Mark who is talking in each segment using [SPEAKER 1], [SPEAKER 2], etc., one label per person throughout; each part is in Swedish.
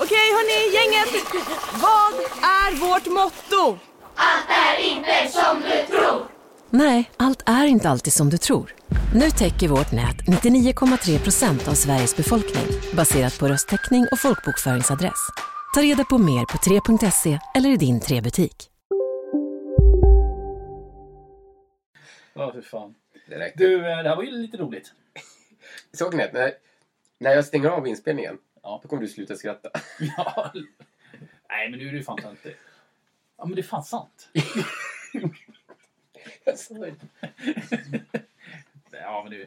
[SPEAKER 1] Okej hörni, gänget! Vad är vårt motto?
[SPEAKER 2] Nej, allt är inte alltid som du tror. Nu täcker vårt nät 99,3 procent av Sveriges befolkning baserat på röstteckning och folkbokföringsadress. Ta reda på mer på 3.se eller i din 3-butik.
[SPEAKER 3] Ja, för fan.
[SPEAKER 4] Det räcker.
[SPEAKER 3] Du, eh, det här var ju lite roligt.
[SPEAKER 4] Saken är att när, när jag stänger av inspelningen,
[SPEAKER 3] Ja.
[SPEAKER 4] då kommer du sluta skratta.
[SPEAKER 3] Ja. Nej, men nu är det ju fan töntigt. Ja, men det är fan sant.
[SPEAKER 4] Jag sa det.
[SPEAKER 3] Ja, men det,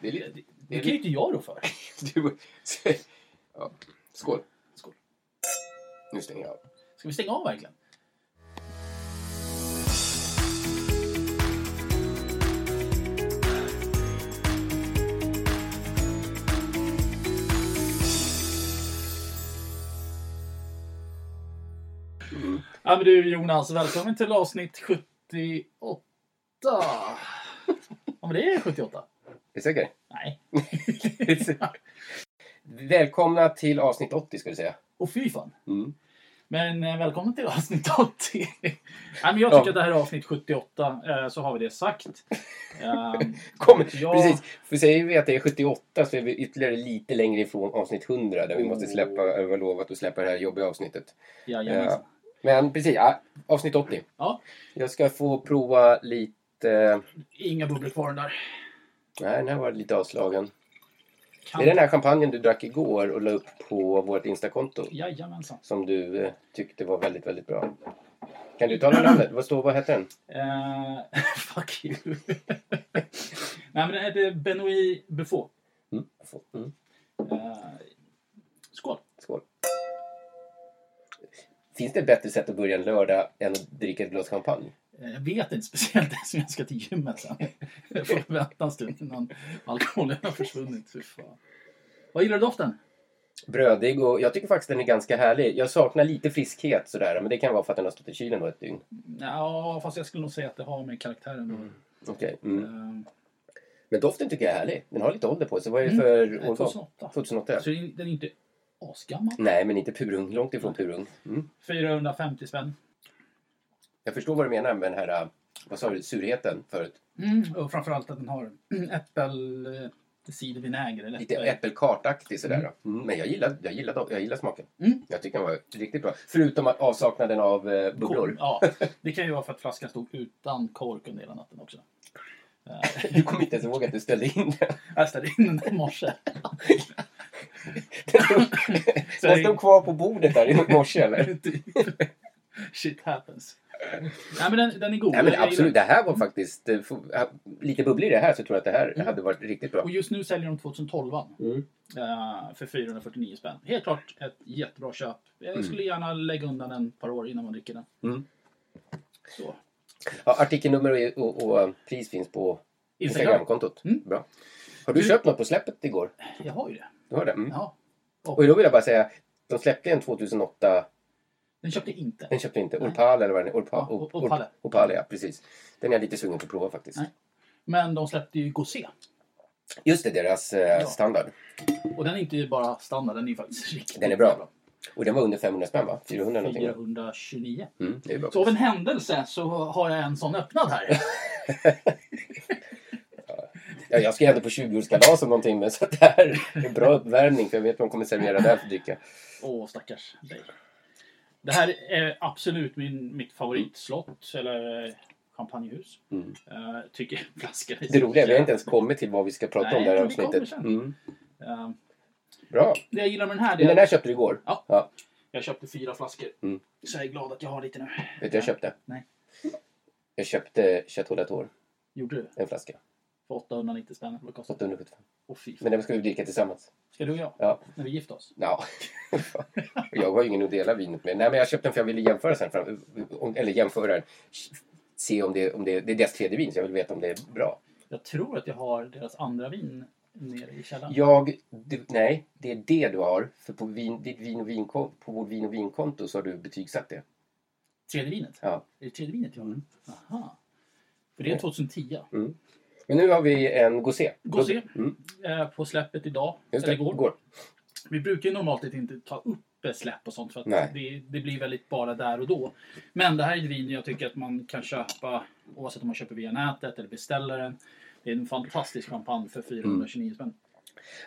[SPEAKER 4] Det
[SPEAKER 3] det,
[SPEAKER 4] är lite... Det
[SPEAKER 3] det
[SPEAKER 4] är
[SPEAKER 3] kan ju inte
[SPEAKER 4] lite
[SPEAKER 3] jag då för.
[SPEAKER 4] du, ja. Skål.
[SPEAKER 3] Skål.
[SPEAKER 4] Nu stänger jag av.
[SPEAKER 3] Ska vi stänga av verkligen? Ja, men du Jonas, välkommen till avsnitt 78. Ja, men det är 78.
[SPEAKER 4] Är du säker?
[SPEAKER 3] Nej.
[SPEAKER 4] Välkomna till avsnitt 80 ska du säga.
[SPEAKER 3] Och fy fan.
[SPEAKER 4] Mm.
[SPEAKER 3] Men eh, välkommen till avsnitt 80. Nej, men jag tycker
[SPEAKER 4] Ja.
[SPEAKER 3] att det här är avsnitt 78, eh, så har vi det sagt. Ehm,
[SPEAKER 4] Kommer,
[SPEAKER 3] Ja.
[SPEAKER 4] Precis, för säger vi att det är 78 så är vi ytterligare lite längre ifrån avsnitt 100 där vi måste
[SPEAKER 3] Oh.
[SPEAKER 4] släppa, vi har lovat att släppa det här jobbiga avsnittet.
[SPEAKER 3] Jajamensan.
[SPEAKER 4] Ja. Men precis, ja, avsnitt 80.
[SPEAKER 3] Ja.
[SPEAKER 4] Jag ska få prova lite...
[SPEAKER 3] Inga bubblor kvar den där.
[SPEAKER 4] Nej, den här var lite avslagen.
[SPEAKER 3] Kan...
[SPEAKER 4] Det är den här champagnen du drack igår och la upp på vårt Instakonto.
[SPEAKER 3] Jajamensan.
[SPEAKER 4] Som du eh, tyckte var väldigt, väldigt bra. Kan du tala om namnet? Vad står, vad heter den?
[SPEAKER 3] Eh, fuck you. Nej, men det heter Benoit Buffot.
[SPEAKER 4] Mm. jag får- Mm.
[SPEAKER 3] Eh, skål.
[SPEAKER 4] Skål. Finns det ett bättre sätt att börja en lördag än att dricka ett glas champagne?
[SPEAKER 3] Eh, Jag vet inte, speciellt eftersom jag ska till gymmet sen. Jag får vänta en stund innan alkoholen har försvunnit. Fy fan. Vad gillar du doften?
[SPEAKER 4] Brödig och jag tycker faktiskt den är ganska härlig. Jag saknar lite friskhet sådär, men det kan vara för att den har stått i kylen då ett dygn.
[SPEAKER 3] Ja, fast jag skulle nog säga att det har med karaktären då.
[SPEAKER 4] Okej. Mm.
[SPEAKER 3] Mm.
[SPEAKER 4] Men doften tycker jag är härlig. Den har lite ålder på sig. Vad är det för
[SPEAKER 3] Eh,
[SPEAKER 4] år?
[SPEAKER 3] 2008.
[SPEAKER 4] 2008.
[SPEAKER 3] Så den är inte asgammal.
[SPEAKER 4] Nej, men inte purung. Långt ifrån purung. Mm.
[SPEAKER 3] 450 spänn.
[SPEAKER 4] Jag förstår vad du menar med den här, eh, vad sa du, surheten förut?
[SPEAKER 3] Mm. Och framförallt att den har äppelcidervinäger. Eller
[SPEAKER 4] Lite
[SPEAKER 3] äppel-
[SPEAKER 4] äppelkartaktig sådär. då. Mm. Men jag gillar, jag, gillar, dem- jag gillar smaken.
[SPEAKER 3] Mm.
[SPEAKER 4] Jag tycker den var riktigt bra. Förutom att avsaknaden av eh, bubblor.
[SPEAKER 3] Ja, det kan ju vara för att flaskan stod utan kork under hela natten också.
[SPEAKER 4] Du kommer inte ens ihåg att du ställde in den.
[SPEAKER 3] Jag ställde in den i morse.
[SPEAKER 4] Den stod, den stod kvar på bordet där i morse eller?
[SPEAKER 3] Shit happens. Nej men den, den är god.
[SPEAKER 4] Nej
[SPEAKER 3] Jag
[SPEAKER 4] men
[SPEAKER 3] gillar
[SPEAKER 4] absolut, det
[SPEAKER 3] den.
[SPEAKER 4] här var faktiskt... eh, f- äh, Lite bubblor i det här så tror jag att det här hade varit riktigt bra.
[SPEAKER 3] Och just nu säljer de 2012
[SPEAKER 4] Mm.
[SPEAKER 3] eh, för 449 spänn. Helt klart ett jättebra köp. Jag skulle gärna lägga undan den ett par år innan man dricker den.
[SPEAKER 4] Mm.
[SPEAKER 3] Så.
[SPEAKER 4] Ja, artikelnummer och, och, och pris finns på
[SPEAKER 3] Instagram.
[SPEAKER 4] Instagramkontot.
[SPEAKER 3] Mm.
[SPEAKER 4] Bra. Har du
[SPEAKER 3] Du-
[SPEAKER 4] köpt något på släppet igår?
[SPEAKER 3] Jag har ju det.
[SPEAKER 4] Du har det? Mm.
[SPEAKER 3] Ja.
[SPEAKER 4] Och då vill jag bara säga, de släppte en 2008
[SPEAKER 3] Den köpte jag inte.
[SPEAKER 4] Den köpte jag inte. Orpal eller vad den är. Orpa,
[SPEAKER 3] Ja,
[SPEAKER 4] Or-
[SPEAKER 3] Or- Orpale.
[SPEAKER 4] Or- Orpale, ja. Precis. Den är jag lite sugen på att prova faktiskt.
[SPEAKER 3] Nej. Men de släppte ju Gosé.
[SPEAKER 4] Just det, deras eh,
[SPEAKER 3] Ja.
[SPEAKER 4] standard.
[SPEAKER 3] Och den är inte bara standard, den är ju faktiskt riktigt
[SPEAKER 4] Den är bra. Och den var under 500 spänn va? 400 någonting. va?
[SPEAKER 3] 429.
[SPEAKER 4] Mm, det är bra.
[SPEAKER 3] Så av en händelse så har jag en sån öppnad här.
[SPEAKER 4] Ja, jag ska ju ändå på 20-årskalas om någon timme så det här är en bra uppvärmning för jag vet vad de kommer servera där för dricka.
[SPEAKER 3] Åh, stackars dig. Det här är absolut min, mitt favoritslott, eller eh, champagnehus.
[SPEAKER 4] Mm.
[SPEAKER 3] Eh, tycker flaskan är
[SPEAKER 4] Det roliga är att vi har
[SPEAKER 3] jävla-
[SPEAKER 4] inte ens kommit till vad vi ska prata
[SPEAKER 3] Nej,
[SPEAKER 4] om det här
[SPEAKER 3] men vi kommer
[SPEAKER 4] avsnittet.
[SPEAKER 3] sen.
[SPEAKER 4] Mm.
[SPEAKER 3] Eh,
[SPEAKER 4] Bra.
[SPEAKER 3] det jag gillar med den här
[SPEAKER 4] Men
[SPEAKER 3] är
[SPEAKER 4] den
[SPEAKER 3] att
[SPEAKER 4] här köpte du igår?
[SPEAKER 3] Ja.
[SPEAKER 4] ja.
[SPEAKER 3] jag köpte fyra flaskor.
[SPEAKER 4] Mm.
[SPEAKER 3] Så jag är glad att jag har lite nu.
[SPEAKER 4] Vet du vad jag köpte?
[SPEAKER 3] Nej.
[SPEAKER 4] Jag köpte Chateau d'Atour,
[SPEAKER 3] Gjorde du?
[SPEAKER 4] en flaska.
[SPEAKER 3] För 890 spänn. Vad kostar det?
[SPEAKER 4] 875.
[SPEAKER 3] Åh fy fan.
[SPEAKER 4] Men den ska vi dricka tillsammans.
[SPEAKER 3] Ska du och jag?
[SPEAKER 4] Ja.
[SPEAKER 3] När vi gifter oss?
[SPEAKER 4] Ja. jag har ju ingen att dela vinet med. Nej, men jag köpte den för jag ville jämföra sen. Fram, om- eller jämföra den. Se om det, om det, det är deras tredje vin, så jag vill veta om det är bra.
[SPEAKER 3] Jag tror att jag har deras andra vin nere i källaren.
[SPEAKER 4] Jag, du, nej, det är det du har. För på, vin, ditt vin och vinkonto, på vårt vin och vinkonto så har du betygsatt det.
[SPEAKER 3] Tredje vinet?
[SPEAKER 4] Ja.
[SPEAKER 3] Är det tredje vinet jag har? Aha. För det är 2010.
[SPEAKER 4] Men nu har vi en Gosé.
[SPEAKER 3] Gosé.
[SPEAKER 4] Mm,
[SPEAKER 3] Eh, på släppet idag.
[SPEAKER 4] just
[SPEAKER 3] eller
[SPEAKER 4] det,
[SPEAKER 3] igår.
[SPEAKER 4] går.
[SPEAKER 3] Vi brukar ju normalt sett inte ta upp eh, släpp och sånt för
[SPEAKER 4] Nej.
[SPEAKER 3] att det, det blir väldigt bara där och då. Men det här är ett vin jag tycker att man kan köpa oavsett om man köper via nätet eller beställer den. Det är en fantastisk champagne
[SPEAKER 4] Mm.
[SPEAKER 3] för 429 spänn.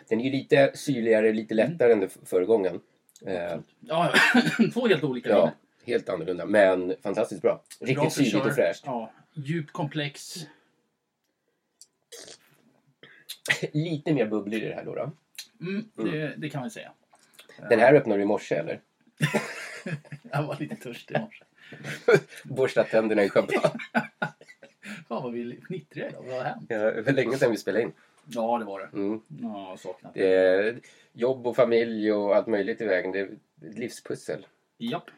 [SPEAKER 4] Den är ju lite syrligare, lite lättare än den f- föregången. Eh,
[SPEAKER 3] Mm. Ja, två helt olika
[SPEAKER 4] ja,
[SPEAKER 3] viner.
[SPEAKER 4] helt annorlunda, men fantastiskt bra. Riktigt
[SPEAKER 3] Bra
[SPEAKER 4] syrligt
[SPEAKER 3] förkör.
[SPEAKER 4] och fräscht.
[SPEAKER 3] Ja, djupt komplex.
[SPEAKER 4] Lite mer bubblor i det här då. då.
[SPEAKER 3] Mm, Det, det kan man säga.
[SPEAKER 4] Den här öppnade du i morse eller?
[SPEAKER 3] Jag var lite törstig i morse.
[SPEAKER 4] Borsta tänderna i champagne.
[SPEAKER 3] Fan vad vi är fnittriga idag. Vad har hänt?
[SPEAKER 4] Ja, det var länge sedan vi spelade in.
[SPEAKER 3] Ja, det var det.
[SPEAKER 4] Mm.
[SPEAKER 3] Ja, saknat.
[SPEAKER 4] Det är jobb och familj och allt möjligt i vägen. Det är ett livspussel.
[SPEAKER 3] Japp,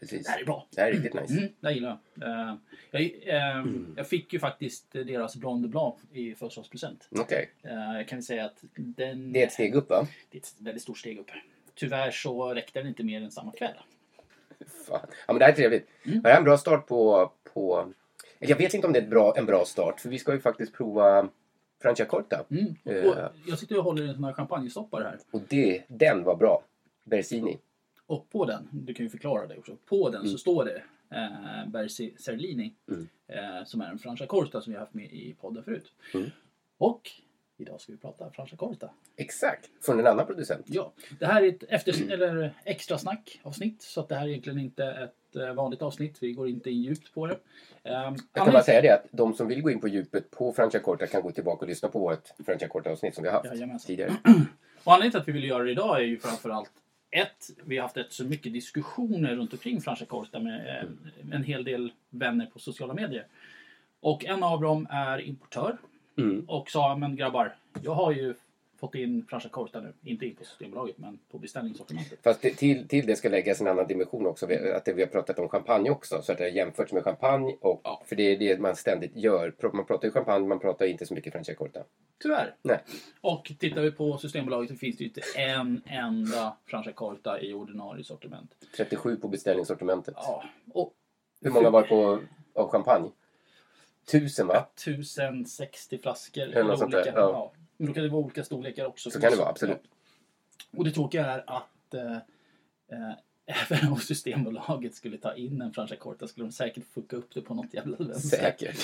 [SPEAKER 4] Precis.
[SPEAKER 3] det här är bra.
[SPEAKER 4] Det här är riktigt nice.
[SPEAKER 3] Mm, det här gillar jag. Eh, jag, eh,
[SPEAKER 4] Mm.
[SPEAKER 3] jag fick ju faktiskt deras Blonde Blanc i födelsedagspresent.
[SPEAKER 4] Mm, Okej.
[SPEAKER 3] Eh, jag kan ju säga att den...
[SPEAKER 4] Det är ett steg upp va?
[SPEAKER 3] det är ett väldigt stort steg upp. Tyvärr så räckte den inte mer än samma kväll.
[SPEAKER 4] Fan. Ja men det här är trevligt.
[SPEAKER 3] Mm.
[SPEAKER 4] Det här är en bra start på... på... eller Jag vet inte om det är ett bra, en bra start för vi ska ju faktiskt prova Franciacorta.
[SPEAKER 3] Mm. Och,
[SPEAKER 4] Eh,
[SPEAKER 3] och jag sitter och håller i en sån här champagnestoppare här.
[SPEAKER 4] och det, den var bra. Bersini.
[SPEAKER 3] Och på den, du kan ju förklara det också, på den
[SPEAKER 4] Mm.
[SPEAKER 3] så står det eh, Bersi Serlini eh, som är en Franciacorta som vi har haft med i podden förut.
[SPEAKER 4] Mm.
[SPEAKER 3] Och idag ska vi prata Franciacorta.
[SPEAKER 4] Exakt. Från en annan producent.
[SPEAKER 3] Ja, det här är ett efter, eller extra snack avsnitt så att det här är egentligen inte ett eh, vanligt avsnitt. Vi går inte in djupt på det. Ehm,
[SPEAKER 4] Jag kan bara säga det att de som vill gå in på djupet på Franciacorta kan gå tillbaka och lyssna på vårt Franciacorta-avsnitt som vi har haft
[SPEAKER 3] Jajamensan.
[SPEAKER 4] tidigare.
[SPEAKER 3] Och anledningen till att vi ville göra det idag är ju framförallt ett, vi har haft rätt så mycket diskussioner runt omkring Francia Corta med eh, en hel del vänner på sociala medier. Och en av dem är importör
[SPEAKER 4] Mm.
[SPEAKER 3] och sa, men grabbar, jag har ju fått in Francia Corta nu, inte in på Systembolaget men på beställningssortimentet.
[SPEAKER 4] Fast det, till, till det ska läggas en annan dimension också. Vi- Att det, vi har pratat om champagne också. Så att det har jämförts med champagne. Och,
[SPEAKER 3] Ja.
[SPEAKER 4] För det är det man ständigt gör. Pr- Man pratar ju champagne, man pratar inte så mycket Franciacorta.
[SPEAKER 3] Tyvärr.
[SPEAKER 4] Nej.
[SPEAKER 3] Och tittar vi på Systembolaget så finns det ju inte en enda Francia Corta i ordinarie sortiment.
[SPEAKER 4] 37 på beställningssortimentet.
[SPEAKER 3] Ja, och
[SPEAKER 4] Hur många var på av champagne? Tusen va?
[SPEAKER 3] 1060 flaskor.
[SPEAKER 4] Eller något sånt där,
[SPEAKER 3] olika,
[SPEAKER 4] ja.
[SPEAKER 3] ja. Men då kan det vara olika storlekar också.
[SPEAKER 4] Så kan det vara, absolut.
[SPEAKER 3] Och det tråkiga är att eh, eh, även om Systembolaget skulle ta in en franska korta skulle de säkert fucka upp det på något jävla vänster.
[SPEAKER 4] Säkert.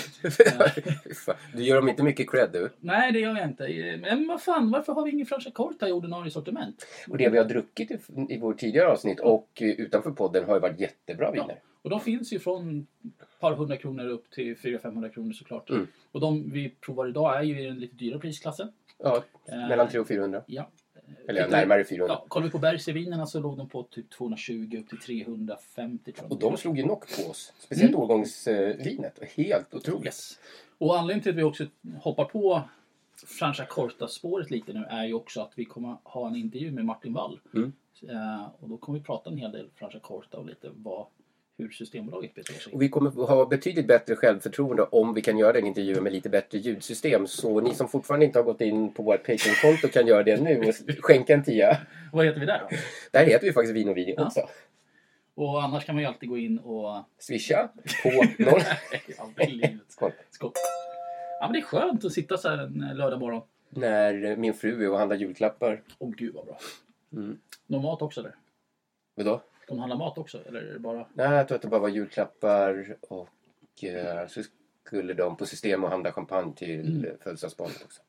[SPEAKER 4] Fan, du gör dem inte mycket cred du.
[SPEAKER 3] Nej, det gör jag inte. Eh, Men vad fan, varför har vi ingen franska korta i ordinarie sortiment?
[SPEAKER 4] Och det vi har druckit i, i vårt tidigare avsnitt och eh, utanför podden har ju varit jättebra
[SPEAKER 3] Ja.
[SPEAKER 4] viner.
[SPEAKER 3] Och de finns ju från ett par hundra kronor upp till 400-500 kronor såklart.
[SPEAKER 4] Mm.
[SPEAKER 3] Och de vi provar idag är ju i den lite dyra prisklassen.
[SPEAKER 4] Ja.
[SPEAKER 3] Eh.
[SPEAKER 4] Mellan 300 och 400.
[SPEAKER 3] Ja.
[SPEAKER 4] Eller
[SPEAKER 3] Tittar vi-
[SPEAKER 4] närmare 400.
[SPEAKER 3] Ja, kollar vi på Bergsvinerna så låg de på typ 220 upp till 350 tror jag.
[SPEAKER 4] Och de slog ju knock på oss. Speciellt årgångsvinet. Helt otroligt.
[SPEAKER 3] Mm. Yes. Och anledningen till att vi också hoppar på Francia Corta-spåret lite nu är ju också att vi kommer ha en intervju med Martin Wall.
[SPEAKER 4] Mm.
[SPEAKER 3] Eh, och då kommer vi prata en hel del Francia Corta och lite vad, hur Systembolaget beter sig.
[SPEAKER 4] Och vi kommer ha betydligt bättre självförtroende om vi kan göra den intervjun med lite bättre ljudsystem. Så ni som fortfarande inte har gått in på vårt Patreon-konto kan göra det nu och skänka en tia.
[SPEAKER 3] Vad heter vi där då?
[SPEAKER 4] Där heter vi faktiskt Vin och Video också.
[SPEAKER 3] Och annars kan man ju alltid gå in och...
[SPEAKER 4] Swisha på noll.
[SPEAKER 3] Aldrig i livet.
[SPEAKER 4] Skål.
[SPEAKER 3] Skål. Ja men det är skönt att sitta så här en eh, lördag morgon.
[SPEAKER 4] När min fru är och handlar julklappar.
[SPEAKER 3] Åh gud vad bra. De har mat också där?
[SPEAKER 4] Vadå?
[SPEAKER 3] De handlar mat också eller är det bara...
[SPEAKER 4] Nej, jag tror att det bara var julklappar och eh, så skulle de på system och handla champagne till mm. födelsedagsbarnet också.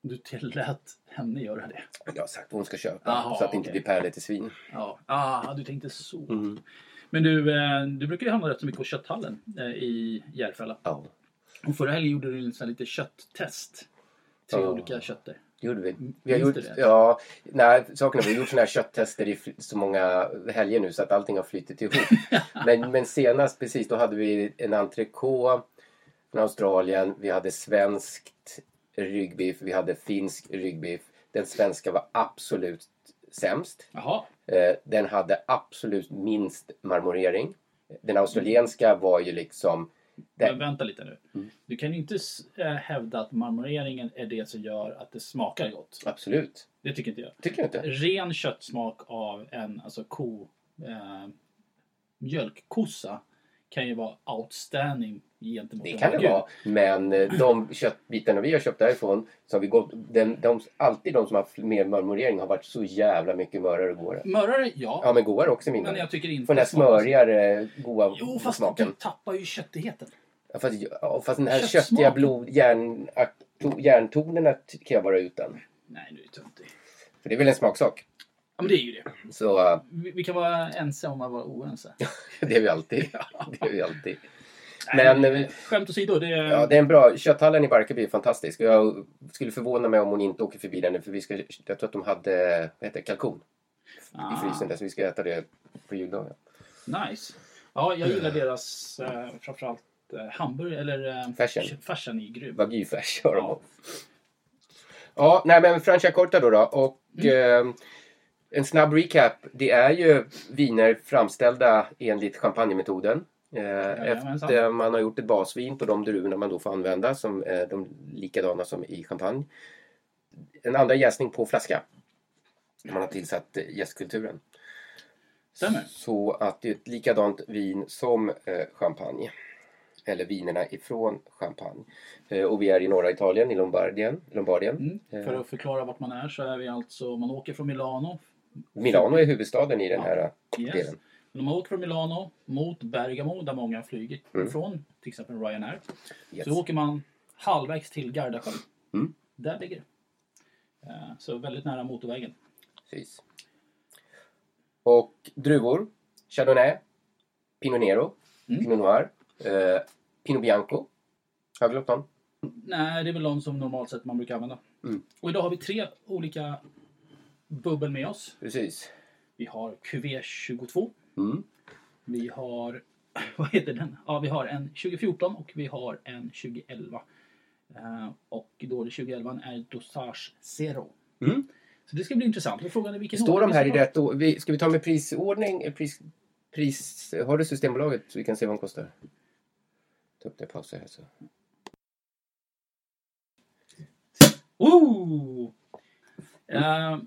[SPEAKER 3] Du tillät henne göra det?
[SPEAKER 4] Jag har sagt vad hon ska köpa
[SPEAKER 3] Aha,
[SPEAKER 4] så att det inte
[SPEAKER 3] okej.
[SPEAKER 4] blir pärlor till svin.
[SPEAKER 3] Ja, ah, du tänkte så. Men du, eh, du brukar ju handla rätt så mycket på kötthallen eh, i Järfälla.
[SPEAKER 4] Ja,
[SPEAKER 3] Och förra helgen gjorde du en sån här lite kötttest. Tre
[SPEAKER 4] Ja.
[SPEAKER 3] olika kötter.
[SPEAKER 4] Det gjorde vi. vi har
[SPEAKER 3] minns
[SPEAKER 4] gjort,
[SPEAKER 3] du det?
[SPEAKER 4] ja, nej, saken är, vi har gjort såna här kötttester i fl- så många helger nu så att allting har flyttat ihop. men, men senast, precis, då hade vi en entrecote. från Australien. Vi hade svenskt ryggbiff. Vi hade finsk ryggbiff. Den svenska var absolut sämst.
[SPEAKER 3] Jaha.
[SPEAKER 4] Eh, Den hade absolut minst marmorering. Den australienska var ju liksom...
[SPEAKER 3] Men
[SPEAKER 4] Den,
[SPEAKER 3] vänta lite nu. Du kan ju inte s- eh, hävda att marmoreringen är det som gör att det smakar gott.
[SPEAKER 4] absolut.
[SPEAKER 3] Det tycker inte jag.
[SPEAKER 4] Tycker du inte?
[SPEAKER 3] Ren köttsmak av en alltså, ko, eh, mjölkkossa kan ju vara outstanding gentemot
[SPEAKER 4] Det
[SPEAKER 3] en
[SPEAKER 4] kan det
[SPEAKER 3] djur.
[SPEAKER 4] vara. Men eh, de köttbitarna vi har köpt därifrån, så har vi gått, den, de, alltid de som har haft mer marmorering har varit så jävla mycket mörare och godare.
[SPEAKER 3] Mörare, ja.
[SPEAKER 4] Ja men godare också i
[SPEAKER 3] men
[SPEAKER 4] mina
[SPEAKER 3] jag tycker inte
[SPEAKER 4] För den här
[SPEAKER 3] smakar-
[SPEAKER 4] smörigare, goa
[SPEAKER 3] Jo, fast
[SPEAKER 4] smaken.
[SPEAKER 3] du tappar ju köttigheten.
[SPEAKER 4] Ja, Fast, ja, fast den här
[SPEAKER 3] Köttsmaken.
[SPEAKER 4] köttiga blod, järn, ak- to- järntonerna ty- kan jag vara utan.
[SPEAKER 3] Nej, nu är du töntig.
[SPEAKER 4] För det är väl en smaksak.
[SPEAKER 3] Ja, men det är ju det.
[SPEAKER 4] Så eh,
[SPEAKER 3] Vi, vi kan vara ense om att vara oense.
[SPEAKER 4] det är vi alltid. Det är vi alltid.
[SPEAKER 3] Nej,
[SPEAKER 4] Men eh,
[SPEAKER 3] Skämt åsido, det är...
[SPEAKER 4] ja, det är en bra... Kötthallen i Barkarby är fantastisk. Och Jag skulle förvåna mig om hon inte åker förbi den nu. För vi ska, jag tror att de hade vad heter, det, kalkon
[SPEAKER 3] Ah.
[SPEAKER 4] i frysen där. Så vi ska äta det på juldagen.
[SPEAKER 3] Nice. Ja, jag gillar deras eh, framförallt eh, hamburgare eller eh,
[SPEAKER 4] Fashion.
[SPEAKER 3] kö- Fashion är grym.
[SPEAKER 4] Wagyufärs har de.
[SPEAKER 3] Ja.
[SPEAKER 4] Ja. ja, nej men Franciacorta då då. Och
[SPEAKER 3] Mm.
[SPEAKER 4] eh, en snabb recap. Det är ju viner framställda enligt champagnemetoden. Eh,
[SPEAKER 3] Jajamensan.
[SPEAKER 4] efter man har gjort ett basvin på de druvorna man då får använda som är de likadana som i champagne. En andra jäsning på flaska. När man har tillsatt eh, jästkulturen.
[SPEAKER 3] Stämmer.
[SPEAKER 4] Så att det är ett likadant vin som eh, champagne. Eller vinerna ifrån champagne. Eh, och vi är i norra Italien, i Lombardien. Lombardien.
[SPEAKER 3] Mm.
[SPEAKER 4] Eh,
[SPEAKER 3] För att förklara vart man är så är vi alltså, om man åker från Milano.
[SPEAKER 4] Milano är huvudstaden i den här eh,
[SPEAKER 3] Yes.
[SPEAKER 4] delen.
[SPEAKER 3] Men om man åker från Milano mot Bergamo där många har flugit
[SPEAKER 4] Mm.
[SPEAKER 3] ifrån, till exempel Ryanair.
[SPEAKER 4] Yes.
[SPEAKER 3] Så åker man halvvägs till Gardasjön.
[SPEAKER 4] Mm.
[SPEAKER 3] Där ligger det. Eh, Så väldigt nära motorvägen.
[SPEAKER 4] Precis. Och druvor. Chardonnay. Pinot Nero.
[SPEAKER 3] Mm.
[SPEAKER 4] Pinot Noir. Eh, Pinot Bianco. Har vi glömt någon?
[SPEAKER 3] Nej, det är väl de som normalt sett man brukar använda.
[SPEAKER 4] Mm.
[SPEAKER 3] Och idag har vi tre olika bubbel med oss.
[SPEAKER 4] Precis.
[SPEAKER 3] Vi har QV22.
[SPEAKER 4] Mm.
[SPEAKER 3] Vi har, vad heter den? Ja, vi har en 2014 och vi har en 2011. Eh, och då det 2011 är Dosage Zero.
[SPEAKER 4] Mm.
[SPEAKER 3] Så det ska bli intressant. Och Frågan är vilken
[SPEAKER 4] Står
[SPEAKER 3] ordning
[SPEAKER 4] de
[SPEAKER 3] vi
[SPEAKER 4] här i
[SPEAKER 3] ska
[SPEAKER 4] rätt år? Vi- Ska vi ta med prisordning? Eh, Pris, pris, har du Systembolaget så vi kan se vad de kostar? Ta upp det pauser här så.
[SPEAKER 3] ta. Oh!
[SPEAKER 4] Mm.
[SPEAKER 3] Eh,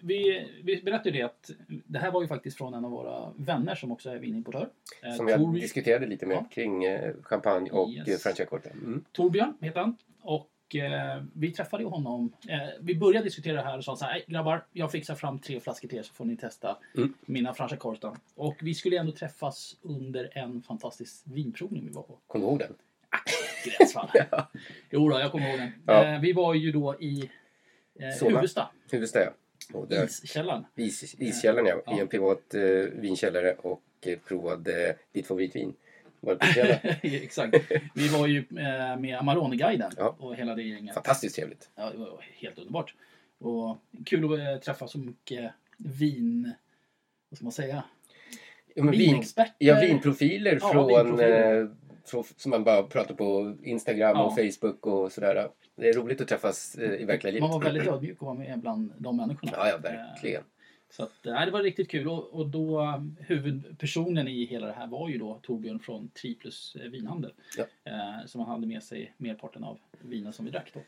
[SPEAKER 3] vi, vi berättade ju det att det här var ju faktiskt från en av våra vänner som också är vinimportör. Eh,
[SPEAKER 4] Som jag
[SPEAKER 3] Tor-
[SPEAKER 4] diskuterade lite med
[SPEAKER 3] Ja.
[SPEAKER 4] kring eh, champagne och
[SPEAKER 3] Yes.
[SPEAKER 4] yes. franchisekorten. Mm.
[SPEAKER 3] Torbjörn heter han. Och eh, vi träffade ju honom. Eh, vi började diskutera det här och sa så här, "Nej, grabbar, jag fixar fram tre flaskor till er så får ni testa
[SPEAKER 4] Mm.
[SPEAKER 3] mina Franciacorta. Och vi skulle ändå träffas under en fantastisk vinprovning vi var på.
[SPEAKER 4] Kommer du ihåg den?
[SPEAKER 3] Gränsfall. Jo då, jag kommer ihåg den.
[SPEAKER 4] Ja.
[SPEAKER 3] Eh, vi var ju då i eh,
[SPEAKER 4] Solna.
[SPEAKER 3] Huvudsta,
[SPEAKER 4] Huvudsta ja. Och där,
[SPEAKER 3] iskällaren.
[SPEAKER 4] is, iskällaren ja.
[SPEAKER 3] Ja.
[SPEAKER 4] I en privat eh, vinkällare och eh, provade eh, ditt favoritvin. Var det på iskällaren?
[SPEAKER 3] Exakt. Vi var ju eh, med Amarone-guiden
[SPEAKER 4] Ja.
[SPEAKER 3] och hela det gänget.
[SPEAKER 4] Fantastiskt trevligt.
[SPEAKER 3] Ja, det var helt underbart. Och kul att eh, träffa så mycket vin... Vad ska man säga?
[SPEAKER 4] Ja, men vin,
[SPEAKER 3] Vinexperter.
[SPEAKER 4] ja, vinprofiler
[SPEAKER 3] Ja,
[SPEAKER 4] från,
[SPEAKER 3] vinprofiler.
[SPEAKER 4] eh, från som man bara pratar på Instagram och
[SPEAKER 3] Ja.
[SPEAKER 4] Facebook och sådär. Det är roligt att träffas eh, i verkliga livet.
[SPEAKER 3] Man var väldigt ödmjuk att vara med bland de människorna.
[SPEAKER 4] Ja, ja,
[SPEAKER 3] Eh,
[SPEAKER 4] verkligen.
[SPEAKER 3] Så att, nej, det var riktigt kul. Och, och då eh, huvudpersonen i hela det här var ju då Torbjörn från Triplus eh, vinhandel.
[SPEAKER 4] Ja.
[SPEAKER 3] Eh, som han hade med sig merparten av vinen som vi drack då.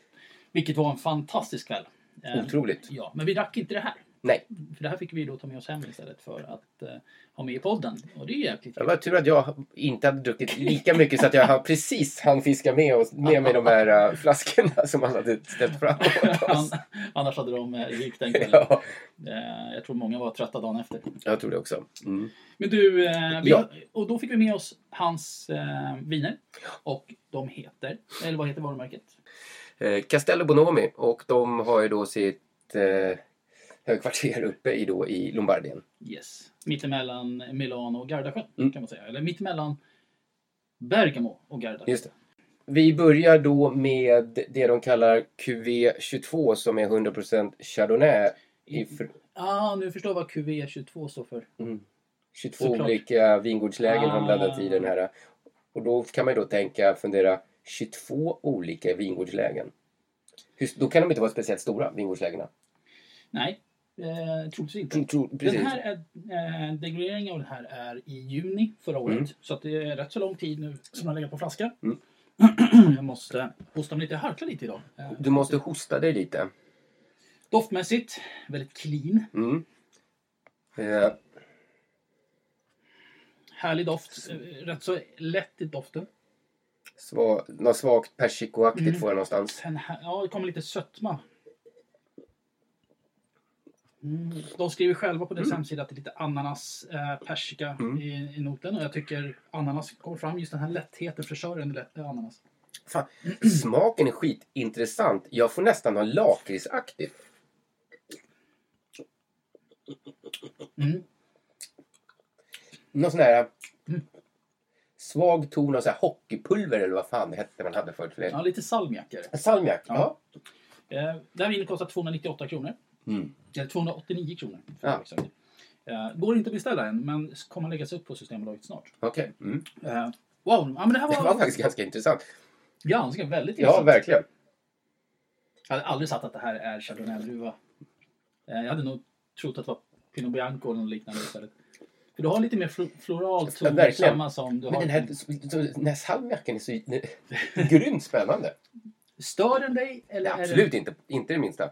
[SPEAKER 3] Vilket var en fantastisk kväll. Eh,
[SPEAKER 4] Otroligt.
[SPEAKER 3] Ja, men vi drack inte det här.
[SPEAKER 4] Nej,
[SPEAKER 3] För det här fick vi då ta med oss hem istället för att eh, ha med i podden. Och det är ju jäkligt
[SPEAKER 4] det
[SPEAKER 3] kul.
[SPEAKER 4] var tur att jag inte hade druckit lika mycket så att jag hann- precis hann fiska med, oss, med mig de här eh, flaskorna som han hade ställt fram åt
[SPEAKER 3] An-
[SPEAKER 4] oss.
[SPEAKER 3] Annars hade de eh, rykt den kvällen.
[SPEAKER 4] Ja,
[SPEAKER 3] Eh, Jag tror många var trötta dagen efter.
[SPEAKER 4] jag tror det också. Mm.
[SPEAKER 3] Men du, eh, vi,
[SPEAKER 4] Ja.
[SPEAKER 3] och då fick vi med oss hans eh, viner. Och de heter, eller vad heter varumärket?
[SPEAKER 4] Eh, Castello Bonomi och de har ju då sitt eh, högkvarter uppe i, då, i Lombardien.
[SPEAKER 3] Yes. Mittemellan Milano och Gardasjön
[SPEAKER 4] Mm.
[SPEAKER 3] kan man säga. Eller mittemellan Bergamo och Gardasjön.
[SPEAKER 4] Just det. Vi börjar då med det de kallar QV22 som är 100% Chardonnay. I fr-
[SPEAKER 3] Ah, nu förstår jag vad QV22 står för.
[SPEAKER 4] 22
[SPEAKER 3] Såklart.
[SPEAKER 4] olika vingårdslägen
[SPEAKER 3] Ah.
[SPEAKER 4] har blandat i den här. Och då kan man ju då tänka, fundera, 22 olika vingårdslägen. Hur- Då kan de inte vara speciellt stora, vingårdslägena.
[SPEAKER 3] Nej, eh, troligtvis inte.
[SPEAKER 4] Tro- tro-
[SPEAKER 3] Den
[SPEAKER 4] precis.
[SPEAKER 3] här är, eh, degraderingen av den här är i juni förra året. Så att det är rätt så lång tid nu som den har legat på flaska. Jag måste hosta mig lite, jag harklar lite idag. Eh,
[SPEAKER 4] Du måste hosta dig lite.
[SPEAKER 3] doftmässigt, väldigt clean.
[SPEAKER 4] Mm. Eh,
[SPEAKER 3] Härlig doft. Eh, Rätt så lätt i doften.
[SPEAKER 4] sva, något svagt persikoaktigt får jag någonstans.
[SPEAKER 3] Sen här, ja, det kommer lite sötma. Mm. De skriver själva på deras hemsida att det är lite ananas, eh, persika i, i noten. Och jag tycker ananas kommer fram. Just den här lättheten, fräschören i lätt- eh, ananas.
[SPEAKER 4] Fan, smaken är skitintressant. Jag får nästan något lakritsaktigt.
[SPEAKER 3] Mm.
[SPEAKER 4] Någon sån här svag ton av så här hockeypulver eller vad fan det hette man hade förut. för det.
[SPEAKER 3] Ja, lite salmiak är det.
[SPEAKER 4] Salmiak. Ja.
[SPEAKER 3] Ja. Eh, det här vinet kostar 298 kronor.
[SPEAKER 4] Mm.
[SPEAKER 3] Eller 289 kronor. för
[SPEAKER 4] Ja.
[SPEAKER 3] att vara exakt. Eh, går inte att beställa än, men kommer läggas upp på Systembolaget snart.
[SPEAKER 4] Okej. Mm.
[SPEAKER 3] Eh, wow, ja, men det här
[SPEAKER 4] Det var
[SPEAKER 3] var
[SPEAKER 4] faktiskt ganska intressant.
[SPEAKER 3] ganska väldigt
[SPEAKER 4] Ja, verkligen.
[SPEAKER 3] Jag hade aldrig satt att det här är chardonnay-druva. Eh, Jag hade nog trott att det var Pinot Bianco eller något liknande istället. För du har lite mer fl- floral ton,
[SPEAKER 4] verkligen.
[SPEAKER 3] samma som du
[SPEAKER 4] Men
[SPEAKER 3] har.
[SPEAKER 4] den här, den här salmiaken är så grymt spännande.
[SPEAKER 3] Stör den dig? Eller
[SPEAKER 4] Ja,
[SPEAKER 3] är Mm.
[SPEAKER 4] absolut inte. Inte det minsta.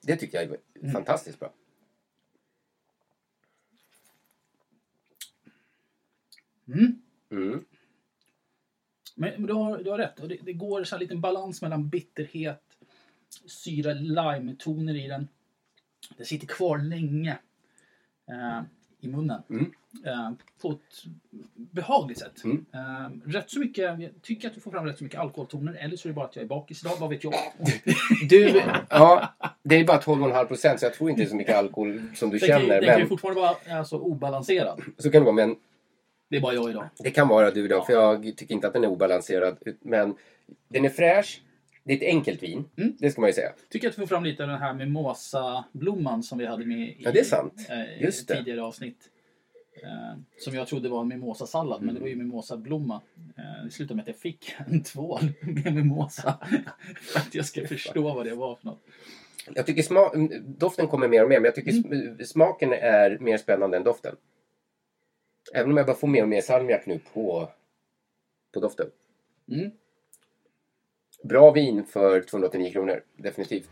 [SPEAKER 4] Det tycker jag är fantastiskt bra.
[SPEAKER 3] Det... Mm.
[SPEAKER 4] Mm.
[SPEAKER 3] Men, men du, har, du har rätt. Och det, det går så här liten balans mellan bitterhet, syra, lime-toner i den. Det sitter kvar länge eh, i munnen.
[SPEAKER 4] Mm.
[SPEAKER 3] Eh, på ett behagligt sätt.
[SPEAKER 4] Mm.
[SPEAKER 3] Eh, rätt så mycket, jag tycker att du får fram rätt så mycket alkoholtoner. Eller så är det bara att jag är bakis idag, vad vet jag?
[SPEAKER 4] Du, ja, det är bara 12,5 procent så jag tror inte det är så mycket alkohol som du
[SPEAKER 3] Den kan, ju-
[SPEAKER 4] känner.
[SPEAKER 3] den kan ju
[SPEAKER 4] Men
[SPEAKER 3] fortfarande vara alltså, obalanserad.
[SPEAKER 4] så kan det vara. Men
[SPEAKER 3] Det är bara jag idag.
[SPEAKER 4] Det kan vara du då, för jag tycker inte att den är obalanserad. ut- Men den är fräsch. Det är ett enkelt vin,
[SPEAKER 3] Mm.
[SPEAKER 4] det ska man ju säga.
[SPEAKER 3] Tycker att du får fram lite av den här mimosa-blomman som vi hade med i
[SPEAKER 4] Ja, det är sant.
[SPEAKER 3] eh,
[SPEAKER 4] Just det.
[SPEAKER 3] tidigare avsnitt. Eh, som jag trodde var en mimosasallad, men det var ju
[SPEAKER 4] Mm.
[SPEAKER 3] mimosablomma. Eh, det slutade med att jag fick en tvål med mimosa. för att jag ska förstå vad det var för något.
[SPEAKER 4] Jag tycker sma- mm, doften kommer mer och mer, men jag tycker
[SPEAKER 3] Mm.
[SPEAKER 4] sm- eh, smaken är mer spännande än doften. Även om jag bara får mer och mer salmiak nu på, på doften.
[SPEAKER 3] Mm.
[SPEAKER 4] Bra vin för 289 kronor, definitivt.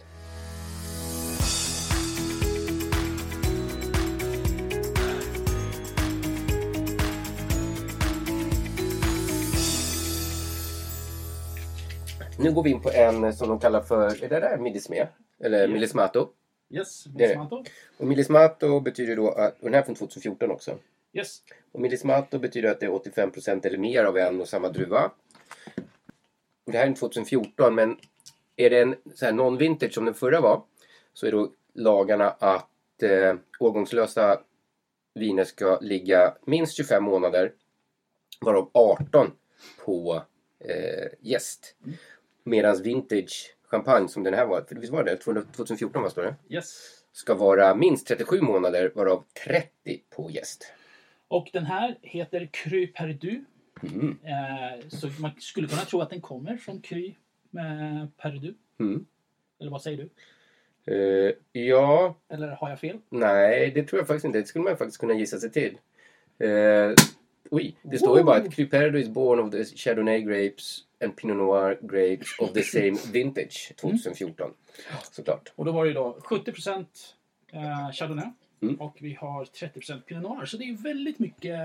[SPEAKER 4] Nu går vi in på en som de kallar för, är det där Milisme? Eller
[SPEAKER 3] Ja.
[SPEAKER 4] Milismato.
[SPEAKER 3] Yes,
[SPEAKER 4] Det är det.
[SPEAKER 3] Monsanto.
[SPEAKER 4] Och Milismato betyder då att, och den här är från 2014 också.
[SPEAKER 3] Yes.
[SPEAKER 4] Och Milismato betyder att det är 85 eller mer av en och samma druva. Det här är en 2014 men är det en så här non-vintage som den förra var så är då lagarna att eh, årgångslösa viner ska ligga minst 25 månader varav 18 på eh, gäst. Medan vintage champagne som den här var, för visst var det 2014 vad står det?
[SPEAKER 3] Yes.
[SPEAKER 4] Ska vara minst 37 månader varav 30 på gäst.
[SPEAKER 3] Och den här heter Cru Perdu.
[SPEAKER 4] Mm.
[SPEAKER 3] Eh, så man skulle kunna tro att den kommer från Cru eh, Perdu.
[SPEAKER 4] Mm.
[SPEAKER 3] Eller vad säger du?
[SPEAKER 4] Eh, ja,
[SPEAKER 3] Eller har jag fel?
[SPEAKER 4] nej, det tror jag faktiskt inte. Det skulle man faktiskt kunna gissa sig till. Eh, oj, det står ju bara att Cruperdo is born of the Chardonnay grapes and Pinot Noir grapes of the same vintage
[SPEAKER 3] Mm.
[SPEAKER 4] 2014. Såklart.
[SPEAKER 3] Och då var det ju då 70% eh, Chardonnay
[SPEAKER 4] Mm.
[SPEAKER 3] och vi har 30% Pinot Noir. Så det är ju väldigt mycket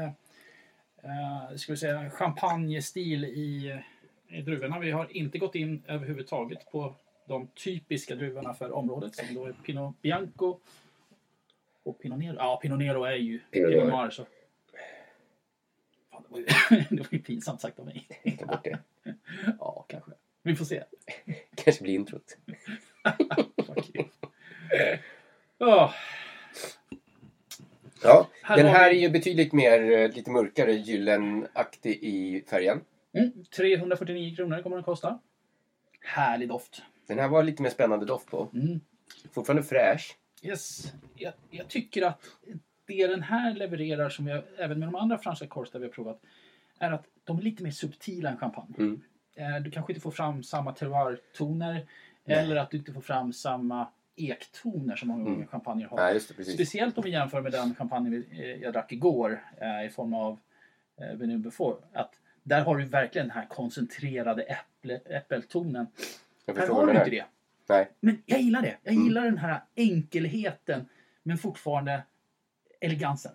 [SPEAKER 3] eh, ska vi säga, champagne-stil i, i druvorna. Vi har inte gått in överhuvudtaget på de typiska druvorna för området som då är Pinot Bianco och Pinot Nero. Ja, Pinot Nero är ju
[SPEAKER 4] Pinot
[SPEAKER 3] Pinot,
[SPEAKER 4] Noir.
[SPEAKER 3] Noir. Så. Fan, det, var ju, det var ju pinsamt sagt av mig.
[SPEAKER 4] Ta bort det.
[SPEAKER 3] Ja, kanske. Vi får se.
[SPEAKER 4] Kanske blir introt.
[SPEAKER 3] Fuck you. Ja,
[SPEAKER 4] Ja,
[SPEAKER 3] Här
[SPEAKER 4] den
[SPEAKER 3] har
[SPEAKER 4] här är
[SPEAKER 3] vi-
[SPEAKER 4] ju betydligt mer, eh, lite mörkare gyllenaktig i färgen.
[SPEAKER 3] Mm, 349 kronor kommer den kosta. Härlig doft.
[SPEAKER 4] Den här var lite mer spännande doft på.
[SPEAKER 3] Mm.
[SPEAKER 4] Fortfarande fräsch.
[SPEAKER 3] Yes. Jag, jag tycker att det den här levererar, som jag, även med de andra franska korv där vi har provat, är att de är lite mer subtila än champagne.
[SPEAKER 4] Mm.
[SPEAKER 3] eh, du kanske inte får fram samma terroir-toner eller att du inte får fram samma ektoner som många gånger champagne har.
[SPEAKER 4] Mm. Nej, just det, precis.
[SPEAKER 3] Speciellt om vi jämför med den champagne vi- eh, jag drack igår eh, i form av eh, Venue Before. Att där har du verkligen den här koncentrerade äpple, äppeltonen.
[SPEAKER 4] Jag
[SPEAKER 3] Här
[SPEAKER 4] förstår
[SPEAKER 3] har
[SPEAKER 4] vad
[SPEAKER 3] du
[SPEAKER 4] du
[SPEAKER 3] inte
[SPEAKER 4] menar.
[SPEAKER 3] det.
[SPEAKER 4] Nej,
[SPEAKER 3] Men jag gillar det. Jag gillar den här enkelheten men fortfarande elegansen.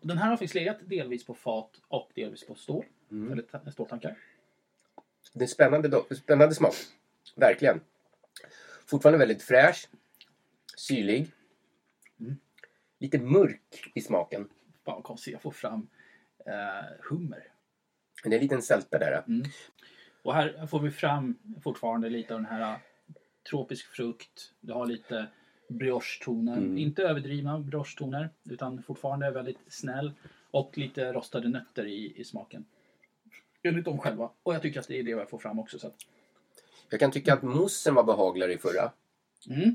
[SPEAKER 3] Och Den här har faktiskt legat delvis på fat och delvis på stål. Eller ta- ståltankar.
[SPEAKER 4] det är spännande, do- spännande smak. Verkligen. Fortfarande väldigt fräsch. Syrlig. Lite mörk i smaken.
[SPEAKER 3] Fan vad konstigt, jag får fram eh, hummer.
[SPEAKER 4] Men det är en liten sälta där.
[SPEAKER 3] Och här får vi fram fortfarande lite av den här eh, tropisk frukt. Du har lite brioche-toner. Inte överdrivna brioche-toner utan fortfarande väldigt snäll. Och lite rostade nötter i, i smaken. Enligt dem själva. Och jag tycker att det är det jag får fram också. Så att,
[SPEAKER 4] Jag kan tycka att moussen var behagligare i förra.
[SPEAKER 3] mm.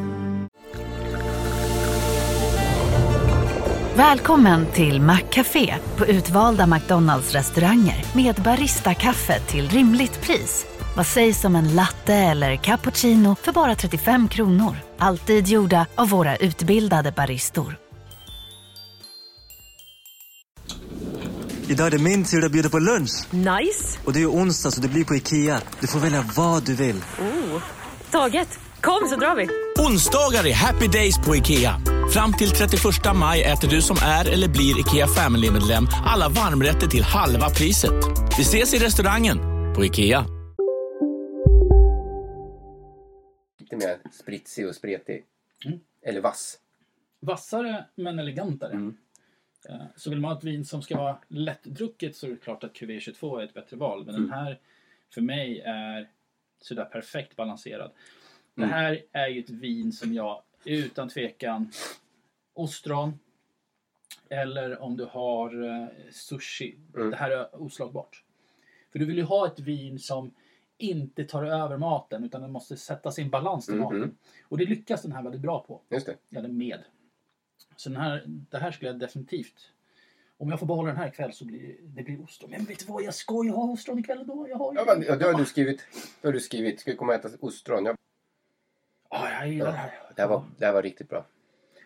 [SPEAKER 5] Välkommen till Maccafé på utvalda McDonalds restauranger med Baristakaffe till rimligt pris. Vad sägs om en latte eller cappuccino för bara 35 kronor? Alltid gjorda av våra utbildade baristor.
[SPEAKER 6] Idag är det min tur att bjuda på lunch.
[SPEAKER 7] Nice!
[SPEAKER 6] Och det är ju onsdag så det blir på IKEA. Du får välja vad du vill.
[SPEAKER 7] Taget! Kom så drar vi!
[SPEAKER 8] Onsdagar är happy days på IKEA. Fram till 31 maj äter du som är eller blir IKEA Family-medlem alla varmrätter till halva priset. Vi ses i restaurangen på IKEA.
[SPEAKER 4] lite mer spritsig och spretig. Eller vass.
[SPEAKER 3] Vassare men elegantare. Eh, Så vill man ha ett vin som ska vara lättdrucket så är det klart att QV22 är ett bättre val. Men den här för mig är sådär perfekt balanserad. Det här är ju ett vin som jag utan tvekan ostron eller om du har eh, sushi. Det här är oslagbart. För du vill ju ha ett vin som inte tar över maten utan den måste sätta sin balans till maten. Och det lyckas den här väldigt bra på
[SPEAKER 4] Just det.
[SPEAKER 3] eller med. Så den här, det här skulle jag definitivt... Om jag får behålla den här ikväll så blir det blir ostron. Men vet du vad, jag ska ju ha ostron ikväll då. Jag har ju...
[SPEAKER 4] Ja, men, ja, det har du skrivit. Det har du skrivit. Ska vi komma och äta ostron? Ja,
[SPEAKER 3] ah, jag gillar det här.
[SPEAKER 4] det, här var, det här var riktigt bra.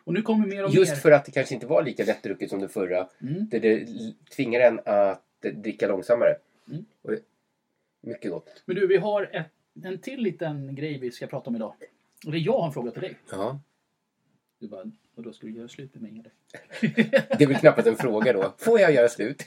[SPEAKER 3] Och nu kommer mer och mer.
[SPEAKER 4] Just för att det kanske inte var lika lättdrucket som det förra. Det, det l- tvingar en att dricka långsammare. Och det- mycket gott.
[SPEAKER 3] Men du, vi har ett, en till liten grej vi ska prata om idag. Och det är jag har en fråga till dig.
[SPEAKER 4] Ja.
[SPEAKER 3] Du bara, och då ska du göra slut med mig eller?
[SPEAKER 4] Det är väl knappast en fråga då. Får jag göra slut?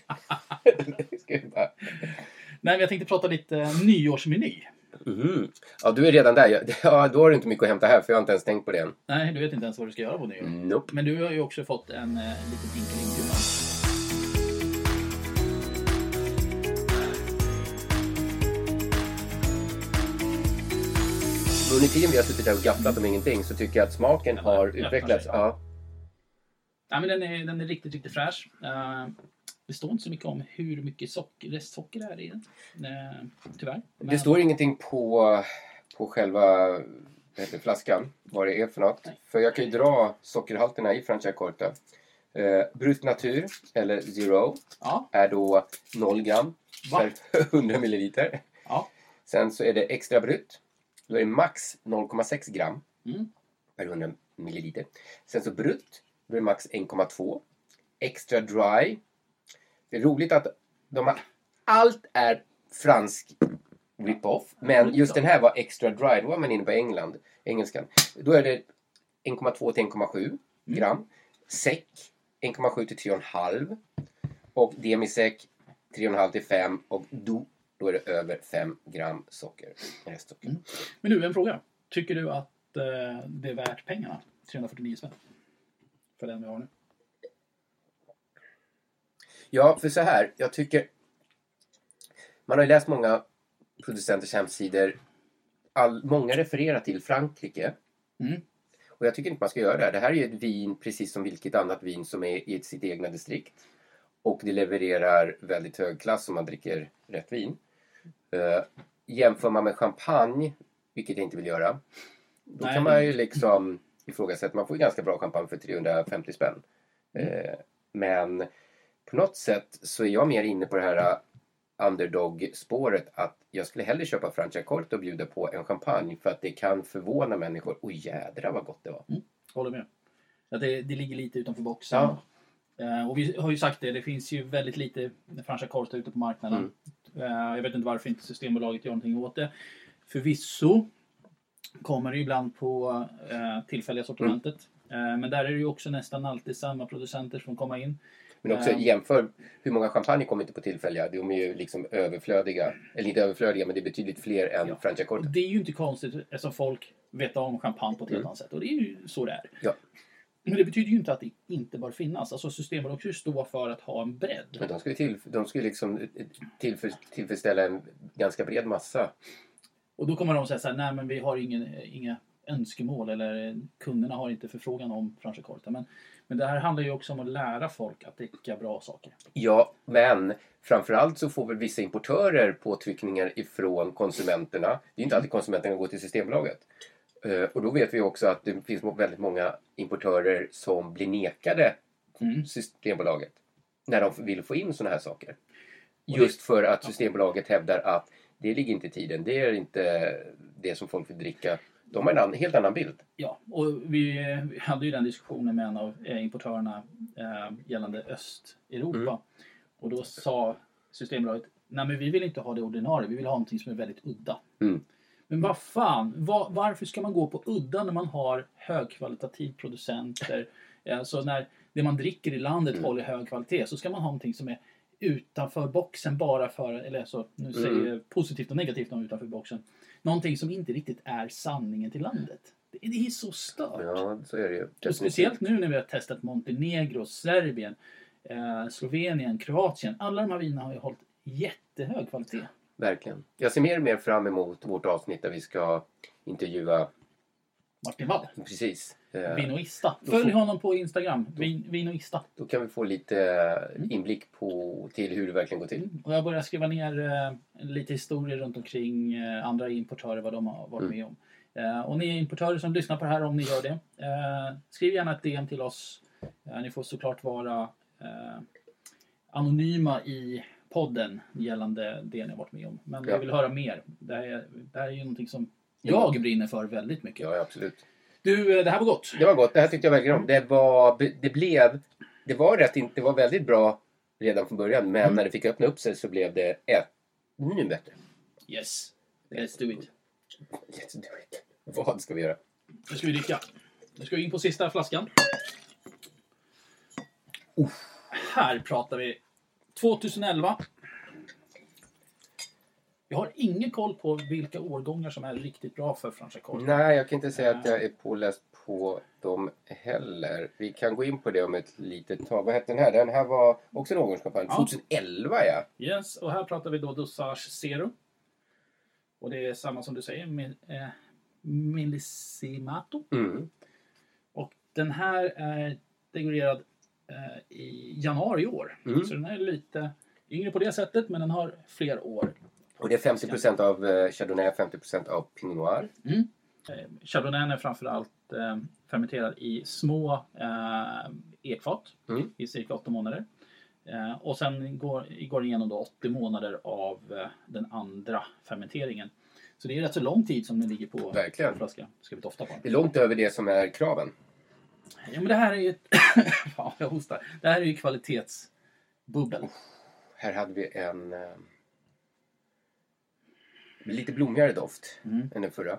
[SPEAKER 4] Ska vi bara...
[SPEAKER 3] Nej, men jag tänkte prata lite eh, nyårsmeny.
[SPEAKER 4] Mhm. Ja, du är redan där. Jag- Ja, då har du inte mycket att hämta här för jag har inte ens tänkt på det än.
[SPEAKER 3] Nej, du vet inte ens vad du ska göra på nyår.
[SPEAKER 4] Nope.
[SPEAKER 3] Men du har ju också fått en eh, liten vinkling till den.
[SPEAKER 4] Under tiden vi har suttit här och gafflat om ingenting så tycker jag att smaken har
[SPEAKER 3] öppnar
[SPEAKER 4] utvecklats.
[SPEAKER 3] sig.
[SPEAKER 4] Ja.
[SPEAKER 3] Nej, men den är, den är riktigt, riktigt fräsch. Eh, det står inte så mycket om hur mycket socker, restsocker det är i den. Eh, tyvärr. Men,
[SPEAKER 4] Det står ingenting på, på själva vad heter det, flaskan, vad det är för något. För jag kan ju dra sockerhalterna i Francia Corta. Eh, brut natur, eller zero,
[SPEAKER 3] Ja,
[SPEAKER 4] är då 0 gram
[SPEAKER 3] Va?
[SPEAKER 4] per 100 milliliter.
[SPEAKER 3] ja.
[SPEAKER 4] Sen så är det extra brut. Då är det max 0,6 gram
[SPEAKER 3] Mm.
[SPEAKER 4] per 100 milliliter. Sen så brut, då är det max 1,2. Extra dry. Det är roligt att de har, allt är fransk rip-off. Men just den här var extra dry. Då var man inne på England, engelskan. Då är det 1,2 till 1,7 gram. Säck 1,7 till 3,5. Och demisäck 3,5 till 5. Och do, då är det över 5 gram socker. Restsocker.
[SPEAKER 3] Men du, en fråga. Tycker du att eh, det är värt pengarna? 349 spänn. För den vi har nu.
[SPEAKER 4] Ja, för så här, jag tycker... Man har ju läst många producenters hemsidor. All, många refererar till Frankrike.
[SPEAKER 3] Mm.
[SPEAKER 4] Och jag tycker inte man ska göra det. här. Det här är ju ett vin precis som vilket annat vin som är i sitt egna distrikt. Och det levererar väldigt hög klass om man dricker rätt vin. Eh, jämför man med champagne, vilket jag inte vill göra, då
[SPEAKER 3] Nej.
[SPEAKER 4] kan man ju liksom ifrågasätta. Man får ju ganska bra champagne för 350 spänn. Eh, men på något sätt så är jag mer inne på det här eh, underdog-spåret att jag skulle hellre köpa Franciacorta och bjuda på en champagne för att det kan förvåna människor. Oj jädra vad gott det var.
[SPEAKER 3] Håller med. Att det, det ligger lite utanför boxen.
[SPEAKER 4] Ja.
[SPEAKER 3] Eh, och vi har ju sagt det, det finns ju väldigt lite Franciacorta ute på marknaden. Eh, jag vet inte varför inte Systembolaget gör någonting åt det. Förvisso kommer det ju ibland på eh, tillfälliga sortimentet. Eh, men där är det ju också nästan alltid samma producenter som kommer in.
[SPEAKER 4] Men också
[SPEAKER 3] Ehm.
[SPEAKER 4] jämför hur många champagne kommer inte på tillfälliga. De är ju liksom överflödiga. Eller inte överflödiga men det är betydligt fler än
[SPEAKER 3] Ja. Och
[SPEAKER 4] Franciacorta.
[SPEAKER 3] det är ju inte konstigt eftersom folk vet om champagne på ett helt annat sätt. Och det är ju så det är.
[SPEAKER 4] Ja.
[SPEAKER 3] Men det betyder ju inte att det inte bör finnas. Alltså Systembolaget ska ju stå för att ha en bredd.
[SPEAKER 4] Men de skulle, till, de skulle liksom tillför, tillfredsställa en ganska bred massa.
[SPEAKER 3] Och då kommer de säga så här, nej men vi har ingen, inga önskemål eller eh, kunderna har inte förfrågan om franchicorta. Men, men det här handlar ju också om att lära folk att dricka bra saker.
[SPEAKER 4] Ja, men framförallt så får väl vissa importörer påtryckningar ifrån konsumenterna. Det är inte alltid konsumenterna går till Systembolaget. Eh, Och då vet vi också att det finns väldigt många importörer som blir nekade Systembolaget när de vill få in sådana här saker. Just för att Systembolaget hävdar att det ligger inte i tiden, det är inte det som folk vill dricka. De har en annan, helt annan bild.
[SPEAKER 3] Ja, och vi, eh, vi hade ju den diskussionen med en av eh, importörerna eh, gällande Östeuropa. Och då sa Systembolaget, nej men vi vill inte ha det ordinarie, vi vill ha någonting som är väldigt udda.
[SPEAKER 4] Mm.
[SPEAKER 3] Men vad fan, va- varför ska man gå på udda när man har högkvalitativ producenter? Alltså när det man dricker i landet
[SPEAKER 4] Mm.
[SPEAKER 3] håller hög kvalitet så ska man ha någonting som är utanför boxen bara för, eller så, nu säger
[SPEAKER 4] Mm.
[SPEAKER 3] jag positivt och negativt om utanför boxen. Någonting som inte riktigt är sanningen till landet. Det det är så stört.
[SPEAKER 4] Ja, så är det ju.
[SPEAKER 3] Och speciellt nu när vi har testat Montenegro, Serbien, eh, Slovenien, Kroatien. Alla de här vinerna har ju hållit jättehög kvalitet.
[SPEAKER 4] Verkligen. Jag ser mer och mer fram emot vårt avsnitt där vi ska intervjua
[SPEAKER 3] Martin Wall,
[SPEAKER 4] Precis. Eh,
[SPEAKER 3] Vinoista.
[SPEAKER 4] Då
[SPEAKER 3] Följ
[SPEAKER 4] får-
[SPEAKER 3] honom på Instagram, Vin, Vinoista.
[SPEAKER 4] Då kan vi få lite eh, inblick på, till hur det verkligen går till.
[SPEAKER 3] Och jag börjar skriva ner eh, lite historier runt omkring eh, andra importörer, vad de har varit
[SPEAKER 4] Mm.
[SPEAKER 3] med om. Eh, och ni importörer som lyssnar på det här, om ni gör det, eh, skriv gärna ett DM till oss. Eh, ni får såklart vara eh, anonyma i podden gällande det ni har varit med om. Men
[SPEAKER 4] Ja.
[SPEAKER 3] vi vill höra mer. Det här är, det här är ju någonting som jag brinner för väldigt mycket.
[SPEAKER 4] Ja, absolut.
[SPEAKER 3] Du, eh, det här var gott.
[SPEAKER 4] Det var gott. Det här tyckte jag verkligen om. Det var, det blev, det var rätt, in- det var väldigt bra redan från början.
[SPEAKER 3] Mm.
[SPEAKER 4] Men när det fick öppna upp sig så blev det ett, nu bättre.
[SPEAKER 3] Yes, let's do it.
[SPEAKER 4] Let's do it. Vad ska vi göra?
[SPEAKER 3] Nu ska vi dricka. Nu ska vi in på sista flaskan. Här pratar vi 2011. Jag har ingen koll på vilka årgångar som är riktigt bra för franchicorta.
[SPEAKER 4] Nej, jag kan inte säga att jag är påläst på dem heller. Vi kan gå in på det om ett litet tag. Vad hette den här? Den här var också en årgångskampanj.
[SPEAKER 3] Ja.
[SPEAKER 4] 2011 ja.
[SPEAKER 3] Yes, och här pratar vi då Dussage Zero. Och det är samma som du säger, mil, eh, Millisimato.
[SPEAKER 4] Mm.
[SPEAKER 3] Och den här är dekorerad eh, i januari i år. Så den här är lite yngre på det sättet, men den har fler år.
[SPEAKER 4] Och det är 50 av eh, Chardonnay, 50 av Pinot Noir.
[SPEAKER 3] Chardonnayen är framförallt eh, fermenterad i små eh, ekfat
[SPEAKER 4] Mm.
[SPEAKER 3] i cirka 8 månader. Eh, och sen går, går den igenom då 80 månader av eh, den andra fermenteringen. Så det är rätt så lång tid som den ligger på
[SPEAKER 4] Verkligen.
[SPEAKER 3] på flaska. Ska vi dofta på
[SPEAKER 4] Det
[SPEAKER 3] den?
[SPEAKER 4] är långt över det som är kraven.
[SPEAKER 3] Ja, men det här är ju... Ett... Fan, jag hostar. Det här är ju kvalitetsbubbel.
[SPEAKER 4] Här hade vi en eh, lite blommigare doft än den förra.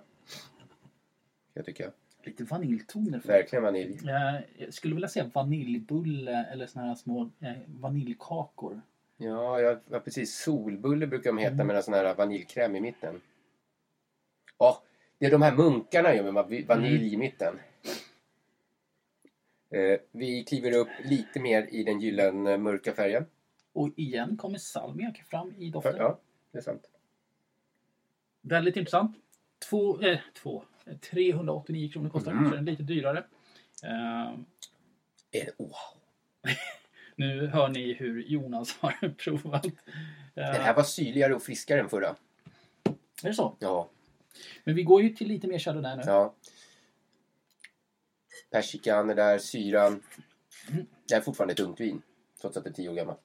[SPEAKER 4] Jag tycker.
[SPEAKER 3] Lite vaniljtoner. för-
[SPEAKER 4] Verkligen vanilj.
[SPEAKER 3] Eh, jag skulle vilja säga vaniljbulle eller såna här små eh, vaniljkakor.
[SPEAKER 4] Ja, jag, ja precis. Solbulle brukar de heta med en sån här vaniljkräm i mitten. Ja, det är de här munkarna gör med va- vanilj i mitten. Eh, vi kliver upp lite mer i den gyllene eh, mörka färgen.
[SPEAKER 3] Och igen kommer salmiak fram i doften.
[SPEAKER 4] Ja, det är sant.
[SPEAKER 3] Väldigt intressant. Två, eh, två, eh, 389 Ehm, kronor kostar den, så den är lite dyrare. Eh,
[SPEAKER 4] Eh, wow.
[SPEAKER 3] nu hör ni hur Jonas har provat. Eh,
[SPEAKER 4] Den här var syrligare och friskare än förra.
[SPEAKER 3] Eh, Är det så?
[SPEAKER 4] Ja.
[SPEAKER 3] Men vi går ju till lite mer källor där nu.
[SPEAKER 4] ja. Persikan är där, syran. Det här är fortfarande ett ungt vin. Trots att det är tio år gammalt.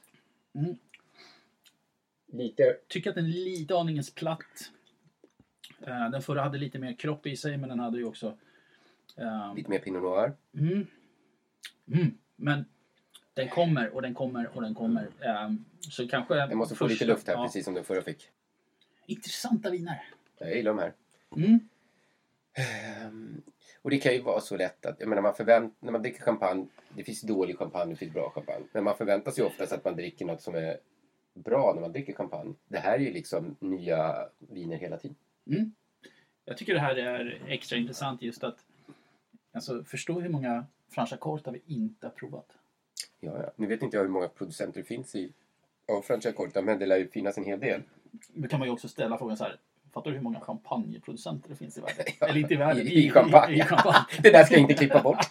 [SPEAKER 3] Mm.
[SPEAKER 4] Lite.
[SPEAKER 3] Tycker att den är lite aningens platt. Eh, Den förra hade lite mer kropp i sig men den hade ju också... eh,
[SPEAKER 4] Lite mer pinot noir.
[SPEAKER 3] Mm. Mm. Men den kommer och den kommer och den kommer. Ehm, så kanske...
[SPEAKER 4] Jag måste få lite
[SPEAKER 3] första-
[SPEAKER 4] luft här,
[SPEAKER 3] ja.
[SPEAKER 4] precis som den förra fick.
[SPEAKER 3] Intressanta viner.
[SPEAKER 4] Jag gillar de här.
[SPEAKER 3] Mm.
[SPEAKER 4] Ehm, Och det kan ju vara så lätt att, jag menar man förvänt, när man dricker champagne, det finns dålig champagne, det finns bra champagne. Men man förväntar sig oftast att man dricker något som är bra när man dricker champagne. Det här är ju liksom nya viner hela tiden.
[SPEAKER 3] Jag tycker det här är extra intressant just att... Alltså förstå hur många Francia Corta vi inte har provat.
[SPEAKER 4] Ja, ja. Nu vet inte jag hur många producenter det finns i av Francia Corta, men det lär ju finnas en hel del.
[SPEAKER 3] Nu kan man ju också ställa frågan så här. Fattar du hur många champagneproducenter det finns i världen? Eller inte i världen,
[SPEAKER 4] I, i, champagne.
[SPEAKER 3] I, i champagne.
[SPEAKER 4] det där ska jag inte klippa bort.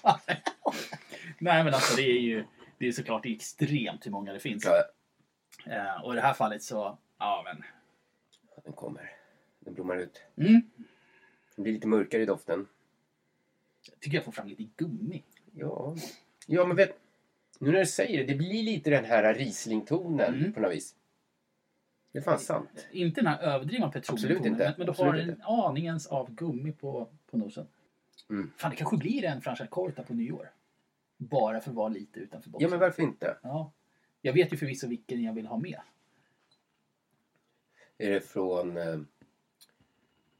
[SPEAKER 3] Nej men alltså det är ju det är såklart extremt hur många det finns.
[SPEAKER 4] Ja,
[SPEAKER 3] Eh, och i det här fallet så, ja men.
[SPEAKER 4] den kommer. Den blommar ut.
[SPEAKER 3] Mm.
[SPEAKER 4] Den blir lite mörkare i doften.
[SPEAKER 3] Jag tycker jag får fram lite gummi.
[SPEAKER 4] Ja, ja men vet, nu när du säger det, det blir lite den här rislingtonen
[SPEAKER 3] Mm.
[SPEAKER 4] på något vis. Det är fan sant.
[SPEAKER 3] Inte den här överdrivna petroletonen.
[SPEAKER 4] Absolut inte.
[SPEAKER 3] Men, men du har
[SPEAKER 4] Absolut
[SPEAKER 3] en
[SPEAKER 4] inte.
[SPEAKER 3] aningens av gummi på, på nosen.
[SPEAKER 4] Mm.
[SPEAKER 3] Fan det kanske blir en Francia Corta på nyår. Bara för att vara lite utanför boxen.
[SPEAKER 4] Ja, men varför inte?
[SPEAKER 3] Ja. Jag vet ju förvisso vilken jag vill ha med.
[SPEAKER 4] Är det från... Eh,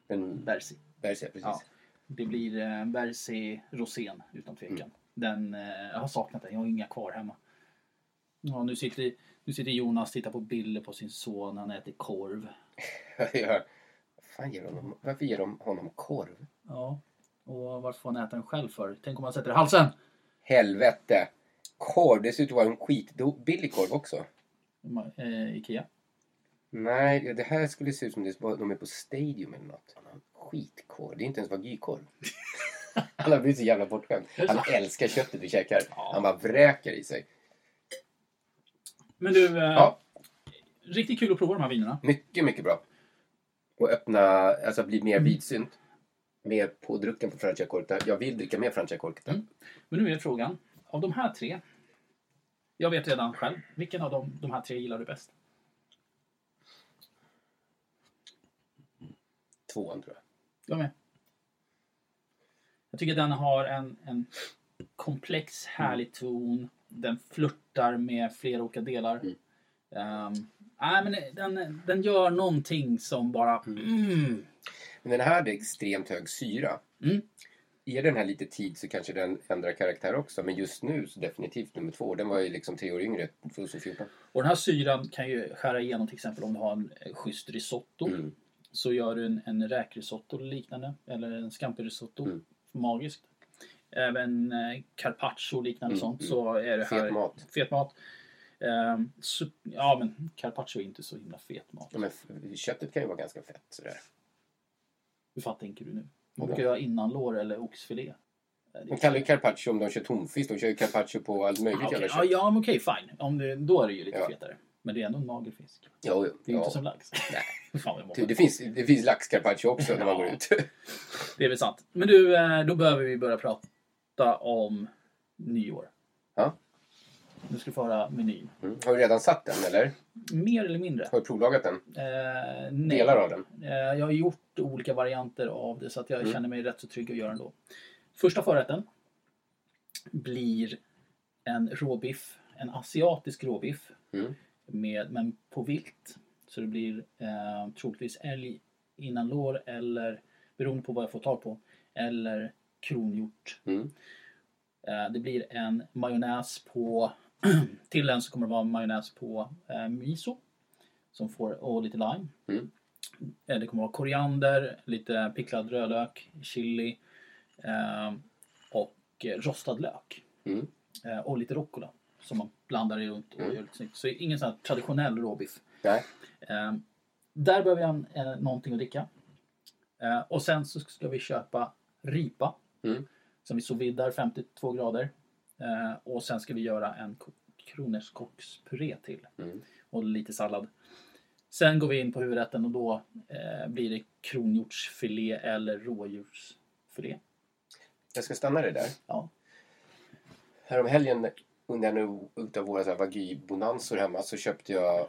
[SPEAKER 4] den
[SPEAKER 3] Bersi.
[SPEAKER 4] Bersia, precis.
[SPEAKER 3] Ja. Det blir eh, Bersi Rosén utan tvekan.
[SPEAKER 4] Mm.
[SPEAKER 3] Den, eh, jag har saknat den, jag har inga kvar hemma. Ja, nu, sitter, nu sitter Jonas och tittar på bilder på sin son, han äter korv.
[SPEAKER 4] Ja. Fan, ger honom, varför ger de honom korv?
[SPEAKER 3] Ja. Och varför får han äta den själv för? Tänk om han sätter i halsen!
[SPEAKER 4] Helvete! Korv, det ser ut att vara en skitbillig korv också.
[SPEAKER 3] Ma- Eh, Ikea.
[SPEAKER 4] Nej, det här skulle se ut som det, de är på Stadium eller något. Han har en Skitkorv. Det är inte ens vagykorv. Han har blivit så jävla bortskämd. Han älskar köttet vi käkar. Han bara vräker i sig.
[SPEAKER 3] Men du, eh,
[SPEAKER 4] Ja,
[SPEAKER 3] riktigt kul att prova de här vinerna.
[SPEAKER 4] mycket, mycket bra. Och öppna, alltså bli mer vidsynt. Mer pådrucken på Francia Corta. Jag vill dricka mer Francia Corta.
[SPEAKER 3] Men nu är frågan, av de här tre, jag vet redan själv, vilken av de, de här tre gillar du bäst?
[SPEAKER 4] Tvåan tror jag.
[SPEAKER 3] Jag med. Jag tycker den har en, en komplex, härlig ton. Den flörtar med flera olika delar. Ehm, nej, men den, den gör någonting som bara... Mm,
[SPEAKER 4] Men den här hade extremt hög syra.
[SPEAKER 3] Mm.
[SPEAKER 4] Ger den här lite tid så kanske den ändrar karaktär också. Men just nu så definitivt nummer två. Den var ju liksom tre år yngre, 2014.
[SPEAKER 3] Och den här syran kan ju skära igenom till exempel om du har en eh, schysst risotto.
[SPEAKER 4] Mm.
[SPEAKER 3] Så gör du en, en räkrisotto eller liknande. Eller en scampi-risotto.
[SPEAKER 4] Mm.
[SPEAKER 3] Magiskt. Även eh, carpaccio och liknande
[SPEAKER 4] Mm,
[SPEAKER 3] sånt.
[SPEAKER 4] mm.
[SPEAKER 3] Så är det
[SPEAKER 4] Fet
[SPEAKER 3] här,
[SPEAKER 4] mat.
[SPEAKER 3] Fet mat. Ehm, så, ja men carpaccio är inte så himla fet mat.
[SPEAKER 4] Ja, men f- köttet kan ju vara ganska fett sådär.
[SPEAKER 3] Hur fan tänker du nu? Man
[SPEAKER 4] Vadå?
[SPEAKER 3] brukar göra innanlår eller oxfilé. Eh, det är-
[SPEAKER 4] De kallar ju carpaccio om de kör tonfisk. De kör ju carpaccio på allt möjligt
[SPEAKER 3] Ah, okej.
[SPEAKER 4] jävla
[SPEAKER 3] ja,
[SPEAKER 4] kött.
[SPEAKER 3] ja men okej fine. Om det, då är det ju lite
[SPEAKER 4] Ja.
[SPEAKER 3] fetare. Men det är ändå en mager fisk.
[SPEAKER 4] Ja,
[SPEAKER 3] Det är ju
[SPEAKER 4] ja. Typ
[SPEAKER 3] inte som lax. Nej. Fan, vad jag mobbar.
[SPEAKER 4] Det finns, det finns laxcarpaccio också när man går ut.
[SPEAKER 3] Det är väl sant. Men du, eh, då behöver vi börja prata om nyår.
[SPEAKER 4] Ja.
[SPEAKER 3] Nu ska vi få höra menyn.
[SPEAKER 4] Mm. Har du redan satt den eller?
[SPEAKER 3] Mer eller mindre?
[SPEAKER 4] Har du provlagat den?
[SPEAKER 3] Eh, nej.
[SPEAKER 4] Delar av den?
[SPEAKER 3] Eh, jag har gjort olika varianter av det så att jag
[SPEAKER 4] Mm.
[SPEAKER 3] känner mig rätt så trygg att göra ändå. Första förrätten blir en råbiff, en asiatisk råbiff
[SPEAKER 4] Mm.
[SPEAKER 3] med, men på vilt. Så det blir eh, troligtvis älg innan lår eller beroende på vad jag får tag på eller kronhjort.
[SPEAKER 4] Mm.
[SPEAKER 3] Eh, det blir en majonnäs på till den så kommer det vara majonnäs på eh, miso som får, och lite lime.
[SPEAKER 4] Mm.
[SPEAKER 3] Eh, Det kommer vara koriander, lite picklad rödlök, chili eh, och eh, rostad lök.
[SPEAKER 4] Mm.
[SPEAKER 3] Eh, och lite rucola som man blandar i runt och gör lite snyggt. Så ingen sån här traditionell råbiff.
[SPEAKER 4] Nej.
[SPEAKER 3] Eh, där behöver jag eh, någonting att dricka. Eh, och sen så ska vi köpa ripa
[SPEAKER 4] Mm.
[SPEAKER 3] Ehm, som vi sous vidar 52 grader. Eh, och sen ska vi göra en kokt kronors kockspuré till.
[SPEAKER 4] Mm.
[SPEAKER 3] Och lite sallad. Sen går vi in på huvudrätten och då eh, blir det kronhjortsfilé eller rådjursfilé.
[SPEAKER 4] Jag ska stanna dig där.
[SPEAKER 3] Ja.
[SPEAKER 4] Häromhelgen under en utav våra så här vagybonanzor hemma så köpte jag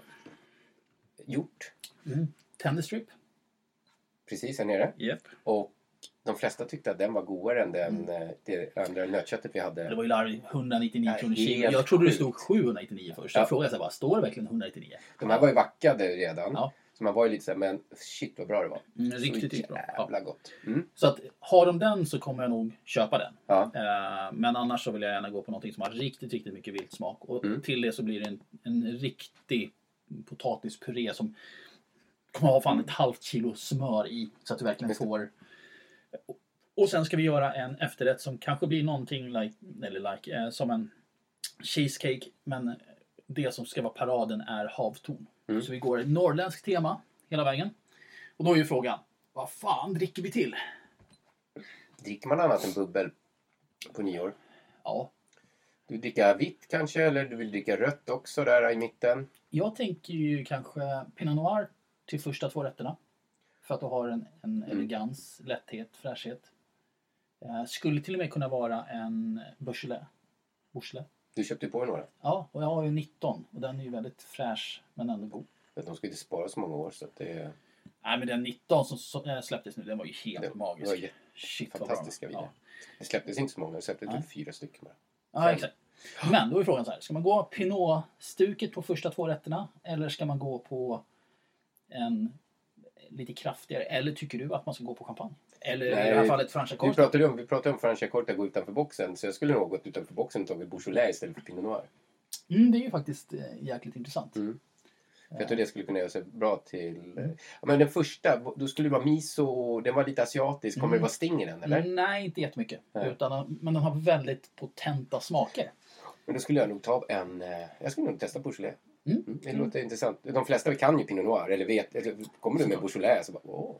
[SPEAKER 4] hjort
[SPEAKER 3] Mm. Tenderstrip.
[SPEAKER 4] precis här nere.
[SPEAKER 3] Yep.
[SPEAKER 4] Och de flesta tyckte att den var godare än den,
[SPEAKER 3] Mm.
[SPEAKER 4] eh, det andra nötköttet vi
[SPEAKER 3] Det
[SPEAKER 4] hade.
[SPEAKER 3] var ju larv, 199
[SPEAKER 4] Nej,
[SPEAKER 3] kronor kilo.
[SPEAKER 4] helt
[SPEAKER 3] Jag trodde det
[SPEAKER 4] sjukt.
[SPEAKER 3] stod 799 först.
[SPEAKER 4] Ja.
[SPEAKER 3] Jag frågade så här bara, står det verkligen 199?
[SPEAKER 4] De här var ju vackade redan.
[SPEAKER 3] Ja.
[SPEAKER 4] Så man var ju lite så här, men shit vad bra det var.
[SPEAKER 3] Mm, riktigt, riktigt bra. Ja.
[SPEAKER 4] Jävla gott. Mm.
[SPEAKER 3] Så att har de den så kommer jag nog köpa den.
[SPEAKER 4] Ja.
[SPEAKER 3] Eh, Men annars så vill jag gärna gå på någonting som har riktigt, riktigt mycket viltsmak. Och
[SPEAKER 4] Mm.
[SPEAKER 3] till det så blir det en, en riktig potatispuré som kommer ha fan ett halvt kilo smör i. Så att du verkligen
[SPEAKER 4] Just det.
[SPEAKER 3] får... Och sen ska vi göra en efterrätt som kanske blir någonting like, eller like, eh, som en cheesecake. Men det som ska vara paraden är havtorn.
[SPEAKER 4] Mm.
[SPEAKER 3] Så vi går norrländskt tema hela vägen. Och då är ju frågan, vad fan dricker vi till?
[SPEAKER 4] Dricker man annat än bubbel på nyår?
[SPEAKER 3] Ja,
[SPEAKER 4] Du vill dricka vitt kanske eller du vill dricka rött också där i mitten.
[SPEAKER 3] Jag tänker ju kanske Pinot Noir till första två rätterna. För att du har en, en
[SPEAKER 4] Mm.
[SPEAKER 3] elegans, lätthet, fräschhet. Eh, skulle till och med kunna vara en Beaujolais. Beaujolais.
[SPEAKER 4] Du köpte ju på dig några.
[SPEAKER 3] Ja, och jag har ju 19 och den är ju väldigt fräsch men ändå god.
[SPEAKER 4] Men de ska ju inte spara så många år så att det är
[SPEAKER 3] Nej men den 19 som så- eh, släpptes nu, den var ju helt
[SPEAKER 4] Det var
[SPEAKER 3] magisk.
[SPEAKER 4] ju
[SPEAKER 3] Shit vad bra den var.
[SPEAKER 4] fantastiska viner.
[SPEAKER 3] Ja.
[SPEAKER 4] Det släpptes inte så många, det släpptes
[SPEAKER 3] Nej.
[SPEAKER 4] typ fyra stycken bara.
[SPEAKER 3] Ja, exakt. Men då är frågan så här, ska man gå Pinot-stuket på första två rätterna eller ska man gå på en lite kraftigare? Eller tycker du att man ska gå på champagne? Eller i det här
[SPEAKER 4] Nej,
[SPEAKER 3] fallet franska
[SPEAKER 4] Vi
[SPEAKER 3] korset?
[SPEAKER 4] pratade om, vi pratade om Franciacorta gå utanför boxen så jag skulle nog ha gått utanför boxen och tagit Beaujolais istället för Pinot Noir.
[SPEAKER 3] Mm, det är ju faktiskt eh, jäkligt intressant.
[SPEAKER 4] Mm. För Jag tror det skulle kunna göra sig bra till... eh, Ja, men den första, då skulle det vara miso och den var lite asiatisk. Kommer det vara sting i den eller?
[SPEAKER 3] Mm, Nej, inte jättemycket.
[SPEAKER 4] Nej.
[SPEAKER 3] Utan, eh, men de har väldigt potenta smaker.
[SPEAKER 4] Men då skulle jag nog ta en... eh, Jag skulle nog testa Beaujolais.
[SPEAKER 3] Mm.
[SPEAKER 4] Mm, det låter intressant. De flesta kan ju Pinot Noir eller vet... Eller, kommer du med Beaujolais så bara åh.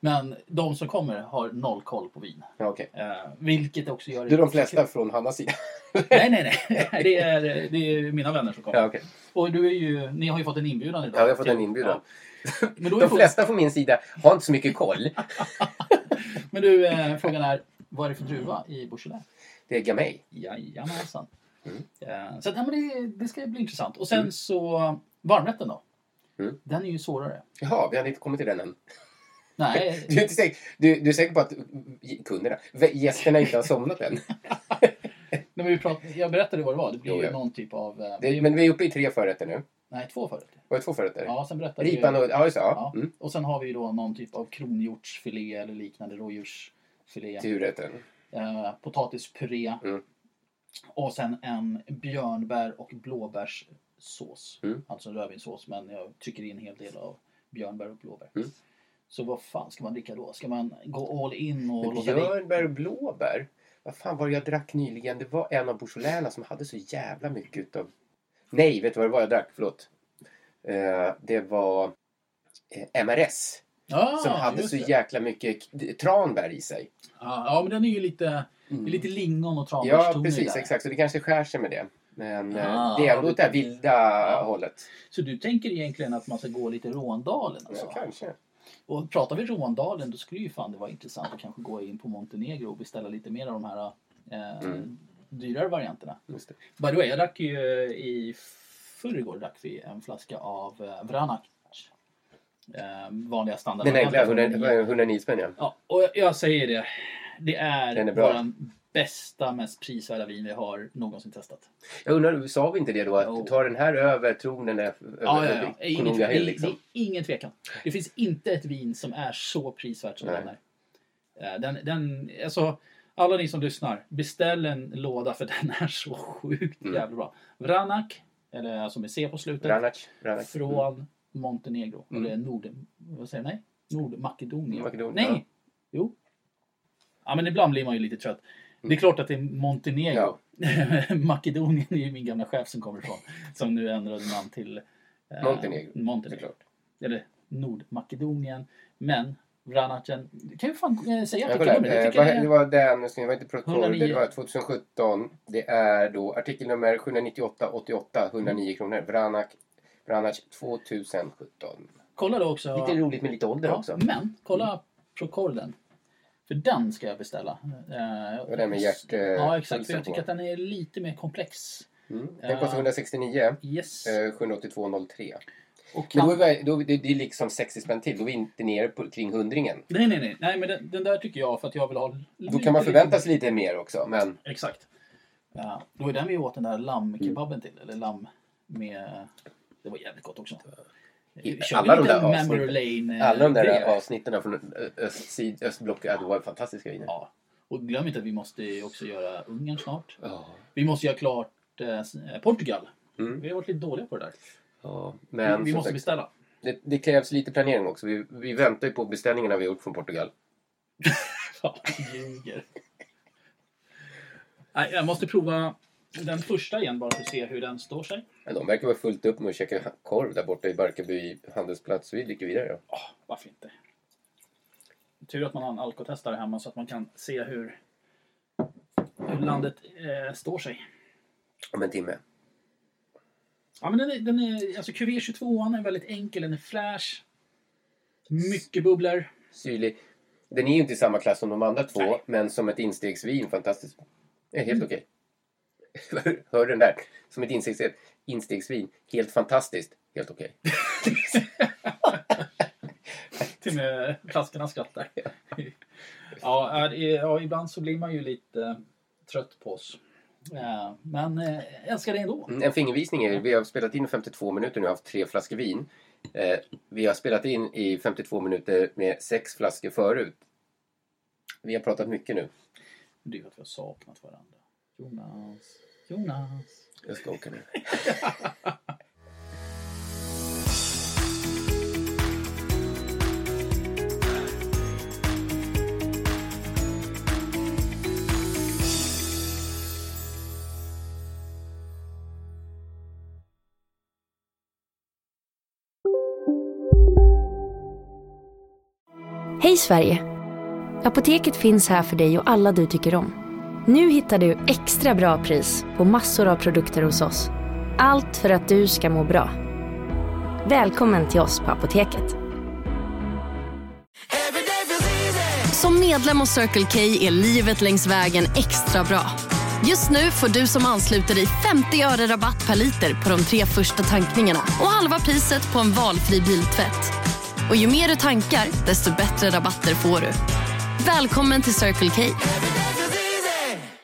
[SPEAKER 3] Men de som kommer har noll koll på vin.
[SPEAKER 4] Ja, okej.
[SPEAKER 3] Eh, vilket också gör
[SPEAKER 4] Du, de flesta från Hannas sida.
[SPEAKER 3] Nej, nej, nej. Det är, det är mina vänner som kommer.
[SPEAKER 4] ja, okej.
[SPEAKER 3] Och du är ju, ni har ju fått en inbjudan idag.
[SPEAKER 4] Ja, jag har fått en
[SPEAKER 3] till-
[SPEAKER 4] inbjudan.
[SPEAKER 3] Ja. Men, då är
[SPEAKER 4] De
[SPEAKER 3] frågan,
[SPEAKER 4] flesta från min sida har inte så mycket koll.
[SPEAKER 3] men du, eh, frågan är, vad är det för druva i Beaujolais?
[SPEAKER 4] Det är Gamay.
[SPEAKER 3] Jajamensan.
[SPEAKER 4] Mm.
[SPEAKER 3] Eh, så att, ja, men det, det ska bli intressant. Och sen så, varmrätten då?
[SPEAKER 4] Mm.
[SPEAKER 3] Den är ju svårare.
[SPEAKER 4] Jaha, vi hade inte kommit till den än.
[SPEAKER 3] Nej,
[SPEAKER 4] Du är, inte säker, du, du är säker på att kunderna, gästerna inte har somnat än?
[SPEAKER 3] när vi pratade, jag berättade vad det var. Det blir
[SPEAKER 4] Jo,
[SPEAKER 3] ju
[SPEAKER 4] ja.
[SPEAKER 3] någon typ av... eh,
[SPEAKER 4] Det, men vi är uppe i tre förrätter nu.
[SPEAKER 3] Nej, två förrätter.
[SPEAKER 4] Var det två förrätter?
[SPEAKER 3] Ja, sen berättade
[SPEAKER 4] Ripan
[SPEAKER 3] vi...
[SPEAKER 4] och... Ja, just det.
[SPEAKER 3] Ja.
[SPEAKER 4] Ja. Mm.
[SPEAKER 3] Och sen har vi ju då någon typ av kronhjortsfilé eller liknande, rådjursfilé.
[SPEAKER 4] Till huvudrätten.
[SPEAKER 3] eh, potatispuré
[SPEAKER 4] Mm.
[SPEAKER 3] och sen en björnbär och blåbärssås.
[SPEAKER 4] Mm.
[SPEAKER 3] Alltså en rödvinssås men jag trycker in en hel del av björnbär och blåbär.
[SPEAKER 4] Mm.
[SPEAKER 3] Så vad fan ska man dricka då? Ska man gå all in och
[SPEAKER 4] Men
[SPEAKER 3] låta bli?
[SPEAKER 4] Björnbär och blåbär? Vad fan var det jag drack nyligen? Det var en av Beaujolaiserna som hade så jävla mycket utav... Nej, vet du vad det var jag drack? Förlåt. Eh, det var eh, MRS.
[SPEAKER 3] Ja,
[SPEAKER 4] som hade
[SPEAKER 3] Ah, just
[SPEAKER 4] så
[SPEAKER 3] det.
[SPEAKER 4] jäkla mycket k- tranbär i sig.
[SPEAKER 3] Ja, ja, men den är ju lite, det är lite lingon och tranbärstoner
[SPEAKER 4] Mm. Ja,
[SPEAKER 3] i
[SPEAKER 4] precis.
[SPEAKER 3] där.
[SPEAKER 4] Exakt. Så det kanske skär sig med det. Men eh,
[SPEAKER 3] Ah,
[SPEAKER 4] det är ändå åt det här vilda
[SPEAKER 3] Ja.
[SPEAKER 4] hållet.
[SPEAKER 3] Så du tänker egentligen att man ska gå lite Råndalen? Alltså.
[SPEAKER 4] Ja, kanske.
[SPEAKER 3] Och pratar vi Råndalen då skulle ju fan det vara intressant att kanske gå in på Montenegro och beställa lite mer av de här eh,
[SPEAKER 4] Mm.
[SPEAKER 3] dyrare varianterna.
[SPEAKER 4] Just det.
[SPEAKER 3] By the way, jag drack ju eh, i förrgår drack vi en flaska av eh, Vranac. Eh, vanliga standard.
[SPEAKER 4] Den enkla, 100 109 spänn ja.
[SPEAKER 3] Ja, och jag- jag säger det. Det är,
[SPEAKER 4] Den är bra.
[SPEAKER 3] vår bästa, mest prisvärda vin vi har någonsin testat.
[SPEAKER 4] Jag undrar, sa vi inte det då? Att
[SPEAKER 3] Jo.
[SPEAKER 4] ta den här över tronen över
[SPEAKER 3] Ja, ja, ja. Det är
[SPEAKER 4] över
[SPEAKER 3] Ingen,
[SPEAKER 4] Konunga
[SPEAKER 3] det,
[SPEAKER 4] Hill
[SPEAKER 3] det är
[SPEAKER 4] liksom.
[SPEAKER 3] ingen tvekan. Det finns inte ett vin som är så prisvärt som
[SPEAKER 4] Nej.
[SPEAKER 3] den här. Eh, Den, den, alltså, alla ni som lyssnar, beställ en låda för den är så sjukt
[SPEAKER 4] Mm.
[SPEAKER 3] jävla bra. Vranac, eller alltså med C på slutet.
[SPEAKER 4] Branac. Branac.
[SPEAKER 3] från Montenegro. Eller Nord... Vad säger jag? Nej? Nordmakedonien.
[SPEAKER 4] Mm. Makedonien,
[SPEAKER 3] Nej! Jo. Ja, men ibland blir man ju lite trött.
[SPEAKER 4] Mm.
[SPEAKER 3] Det är klart att det är Montenegro. Makedonien är ju min gamla chef som kommer ifrån. Som nu ändrade namn till... eh,
[SPEAKER 4] Montenegro,
[SPEAKER 3] Montenegro.
[SPEAKER 4] såklart.
[SPEAKER 3] Eller Nordmakedonien. Men Vranachen. Det kan ju fan eh, säga
[SPEAKER 4] Jag kollar.
[SPEAKER 3] artikelnumret. Jag
[SPEAKER 4] Eh,
[SPEAKER 3] tycker det
[SPEAKER 4] vad- Det
[SPEAKER 3] är-
[SPEAKER 4] var den, nu ska jag- det var inte protokoll,
[SPEAKER 3] 109.
[SPEAKER 4] det var 2017. Det är då artikelnummer 798 88 109 kronor. Vranak, Vranac 2017.
[SPEAKER 3] Kolla då också.
[SPEAKER 4] Lite roligt med lite ålder
[SPEAKER 3] Ja, Mm.
[SPEAKER 4] också. Mm.
[SPEAKER 3] Men kolla Procorden. För den ska jag beställa. Det
[SPEAKER 4] var den med hjärt, eh,
[SPEAKER 3] Ja, exakt. För
[SPEAKER 4] pulsen
[SPEAKER 3] jag
[SPEAKER 4] på.
[SPEAKER 3] tycker att den är lite mer komplex.
[SPEAKER 4] Mm. Den
[SPEAKER 3] Ja.
[SPEAKER 4] kostar 169.
[SPEAKER 3] Yes.
[SPEAKER 4] eh, 782,03.
[SPEAKER 3] Och
[SPEAKER 4] Men
[SPEAKER 3] kan...
[SPEAKER 4] då är vi, då, det, det är liksom 60 spänn till. Då är vi inte nere på, kring hundringen.
[SPEAKER 3] Nej, nej, nej. nej men den, den där tycker jag för att jag vill ha...
[SPEAKER 4] Då
[SPEAKER 3] lite-
[SPEAKER 4] kan man
[SPEAKER 3] lite-
[SPEAKER 4] förvänta sig lite mer också. Men
[SPEAKER 3] Exakt. Ja, då är den vi åt den där
[SPEAKER 4] Mm.
[SPEAKER 3] lammkebaben till. Eller lamm med... Det var jävligt gott också. Vi kör
[SPEAKER 4] alla
[SPEAKER 3] vi
[SPEAKER 4] de
[SPEAKER 3] lite
[SPEAKER 4] där
[SPEAKER 3] Memory
[SPEAKER 4] avsnitten-
[SPEAKER 3] Lane, eh,
[SPEAKER 4] alla de
[SPEAKER 3] grejer.
[SPEAKER 4] där avsnitten från ö- östsyd, östblocket, ja, det var fantastiska viner.
[SPEAKER 3] Ja. Och glöm inte att vi måste ju också göra Ungern snart.
[SPEAKER 4] Ja.
[SPEAKER 3] Vi måste göra klart eh, s- eh, Portugal.
[SPEAKER 4] Mm.
[SPEAKER 3] Vi har varit lite dåliga på det där.
[SPEAKER 4] Ja, men
[SPEAKER 3] vi vi
[SPEAKER 4] som
[SPEAKER 3] måste
[SPEAKER 4] sagt,
[SPEAKER 3] beställa.
[SPEAKER 4] det, det krävs lite planering också. Vi, vi väntar ju på beställningarna vi har gjort från Portugal.
[SPEAKER 3] Fan, ljuger. Nej, jag måste prova den första igen bara för att se hur den står sig.
[SPEAKER 4] Men de verkar vara fullt upp med att käka korv där borta i Barkarby handelsplats. Vi dricker vidare då.
[SPEAKER 3] Åh, varför inte? Tur att man har en alkotestare hemma så att man kan se hur, hur landet eh, står sig.
[SPEAKER 4] Om en timme.
[SPEAKER 3] Ja, men den är, den är, alltså QV22 är väldigt enkel, den är fräsch. Mycket bubblor.
[SPEAKER 4] Syrlig. Den är ju inte i samma klass som de andra två,
[SPEAKER 3] Nej. Mm.
[SPEAKER 4] men som ett instegsvin fantastiskt. Det är helt okej. Hör den där? Som ett instegsvin, instegsvin. helt fantastiskt. Helt okej.
[SPEAKER 3] Till och med flaskorna skrattar. ja, är, är- ja, ibland så blir man ju lite trött på oss. Eh, Men eh, älskar det ändå.
[SPEAKER 4] Mm, En fingervisning är vi har spelat in i 52 minuter nu och haft tre flaskor vin. Eh, vi har spelat in i 52 minuter med sex flaskor förut. Vi har pratat mycket nu.
[SPEAKER 3] Det är ju att vi har saknat varandra. Jonas, Jonas.
[SPEAKER 4] Jag ska åka nu.
[SPEAKER 9] Hej Sverige! Apoteket finns här för dig och alla du tycker om. Nu hittar du extra bra pris på massor av produkter hos oss. Allt för att du ska må bra. Välkommen till oss på Apoteket.
[SPEAKER 10] Som medlem hos Circle K är livet längs vägen extra bra. Just nu får du som ansluter dig 50 öre rabatt per liter på de tre första tankningarna och halva priset på en valfri biltvätt. Och ju mer du tankar, desto bättre rabatter får du. Välkommen till Circle K.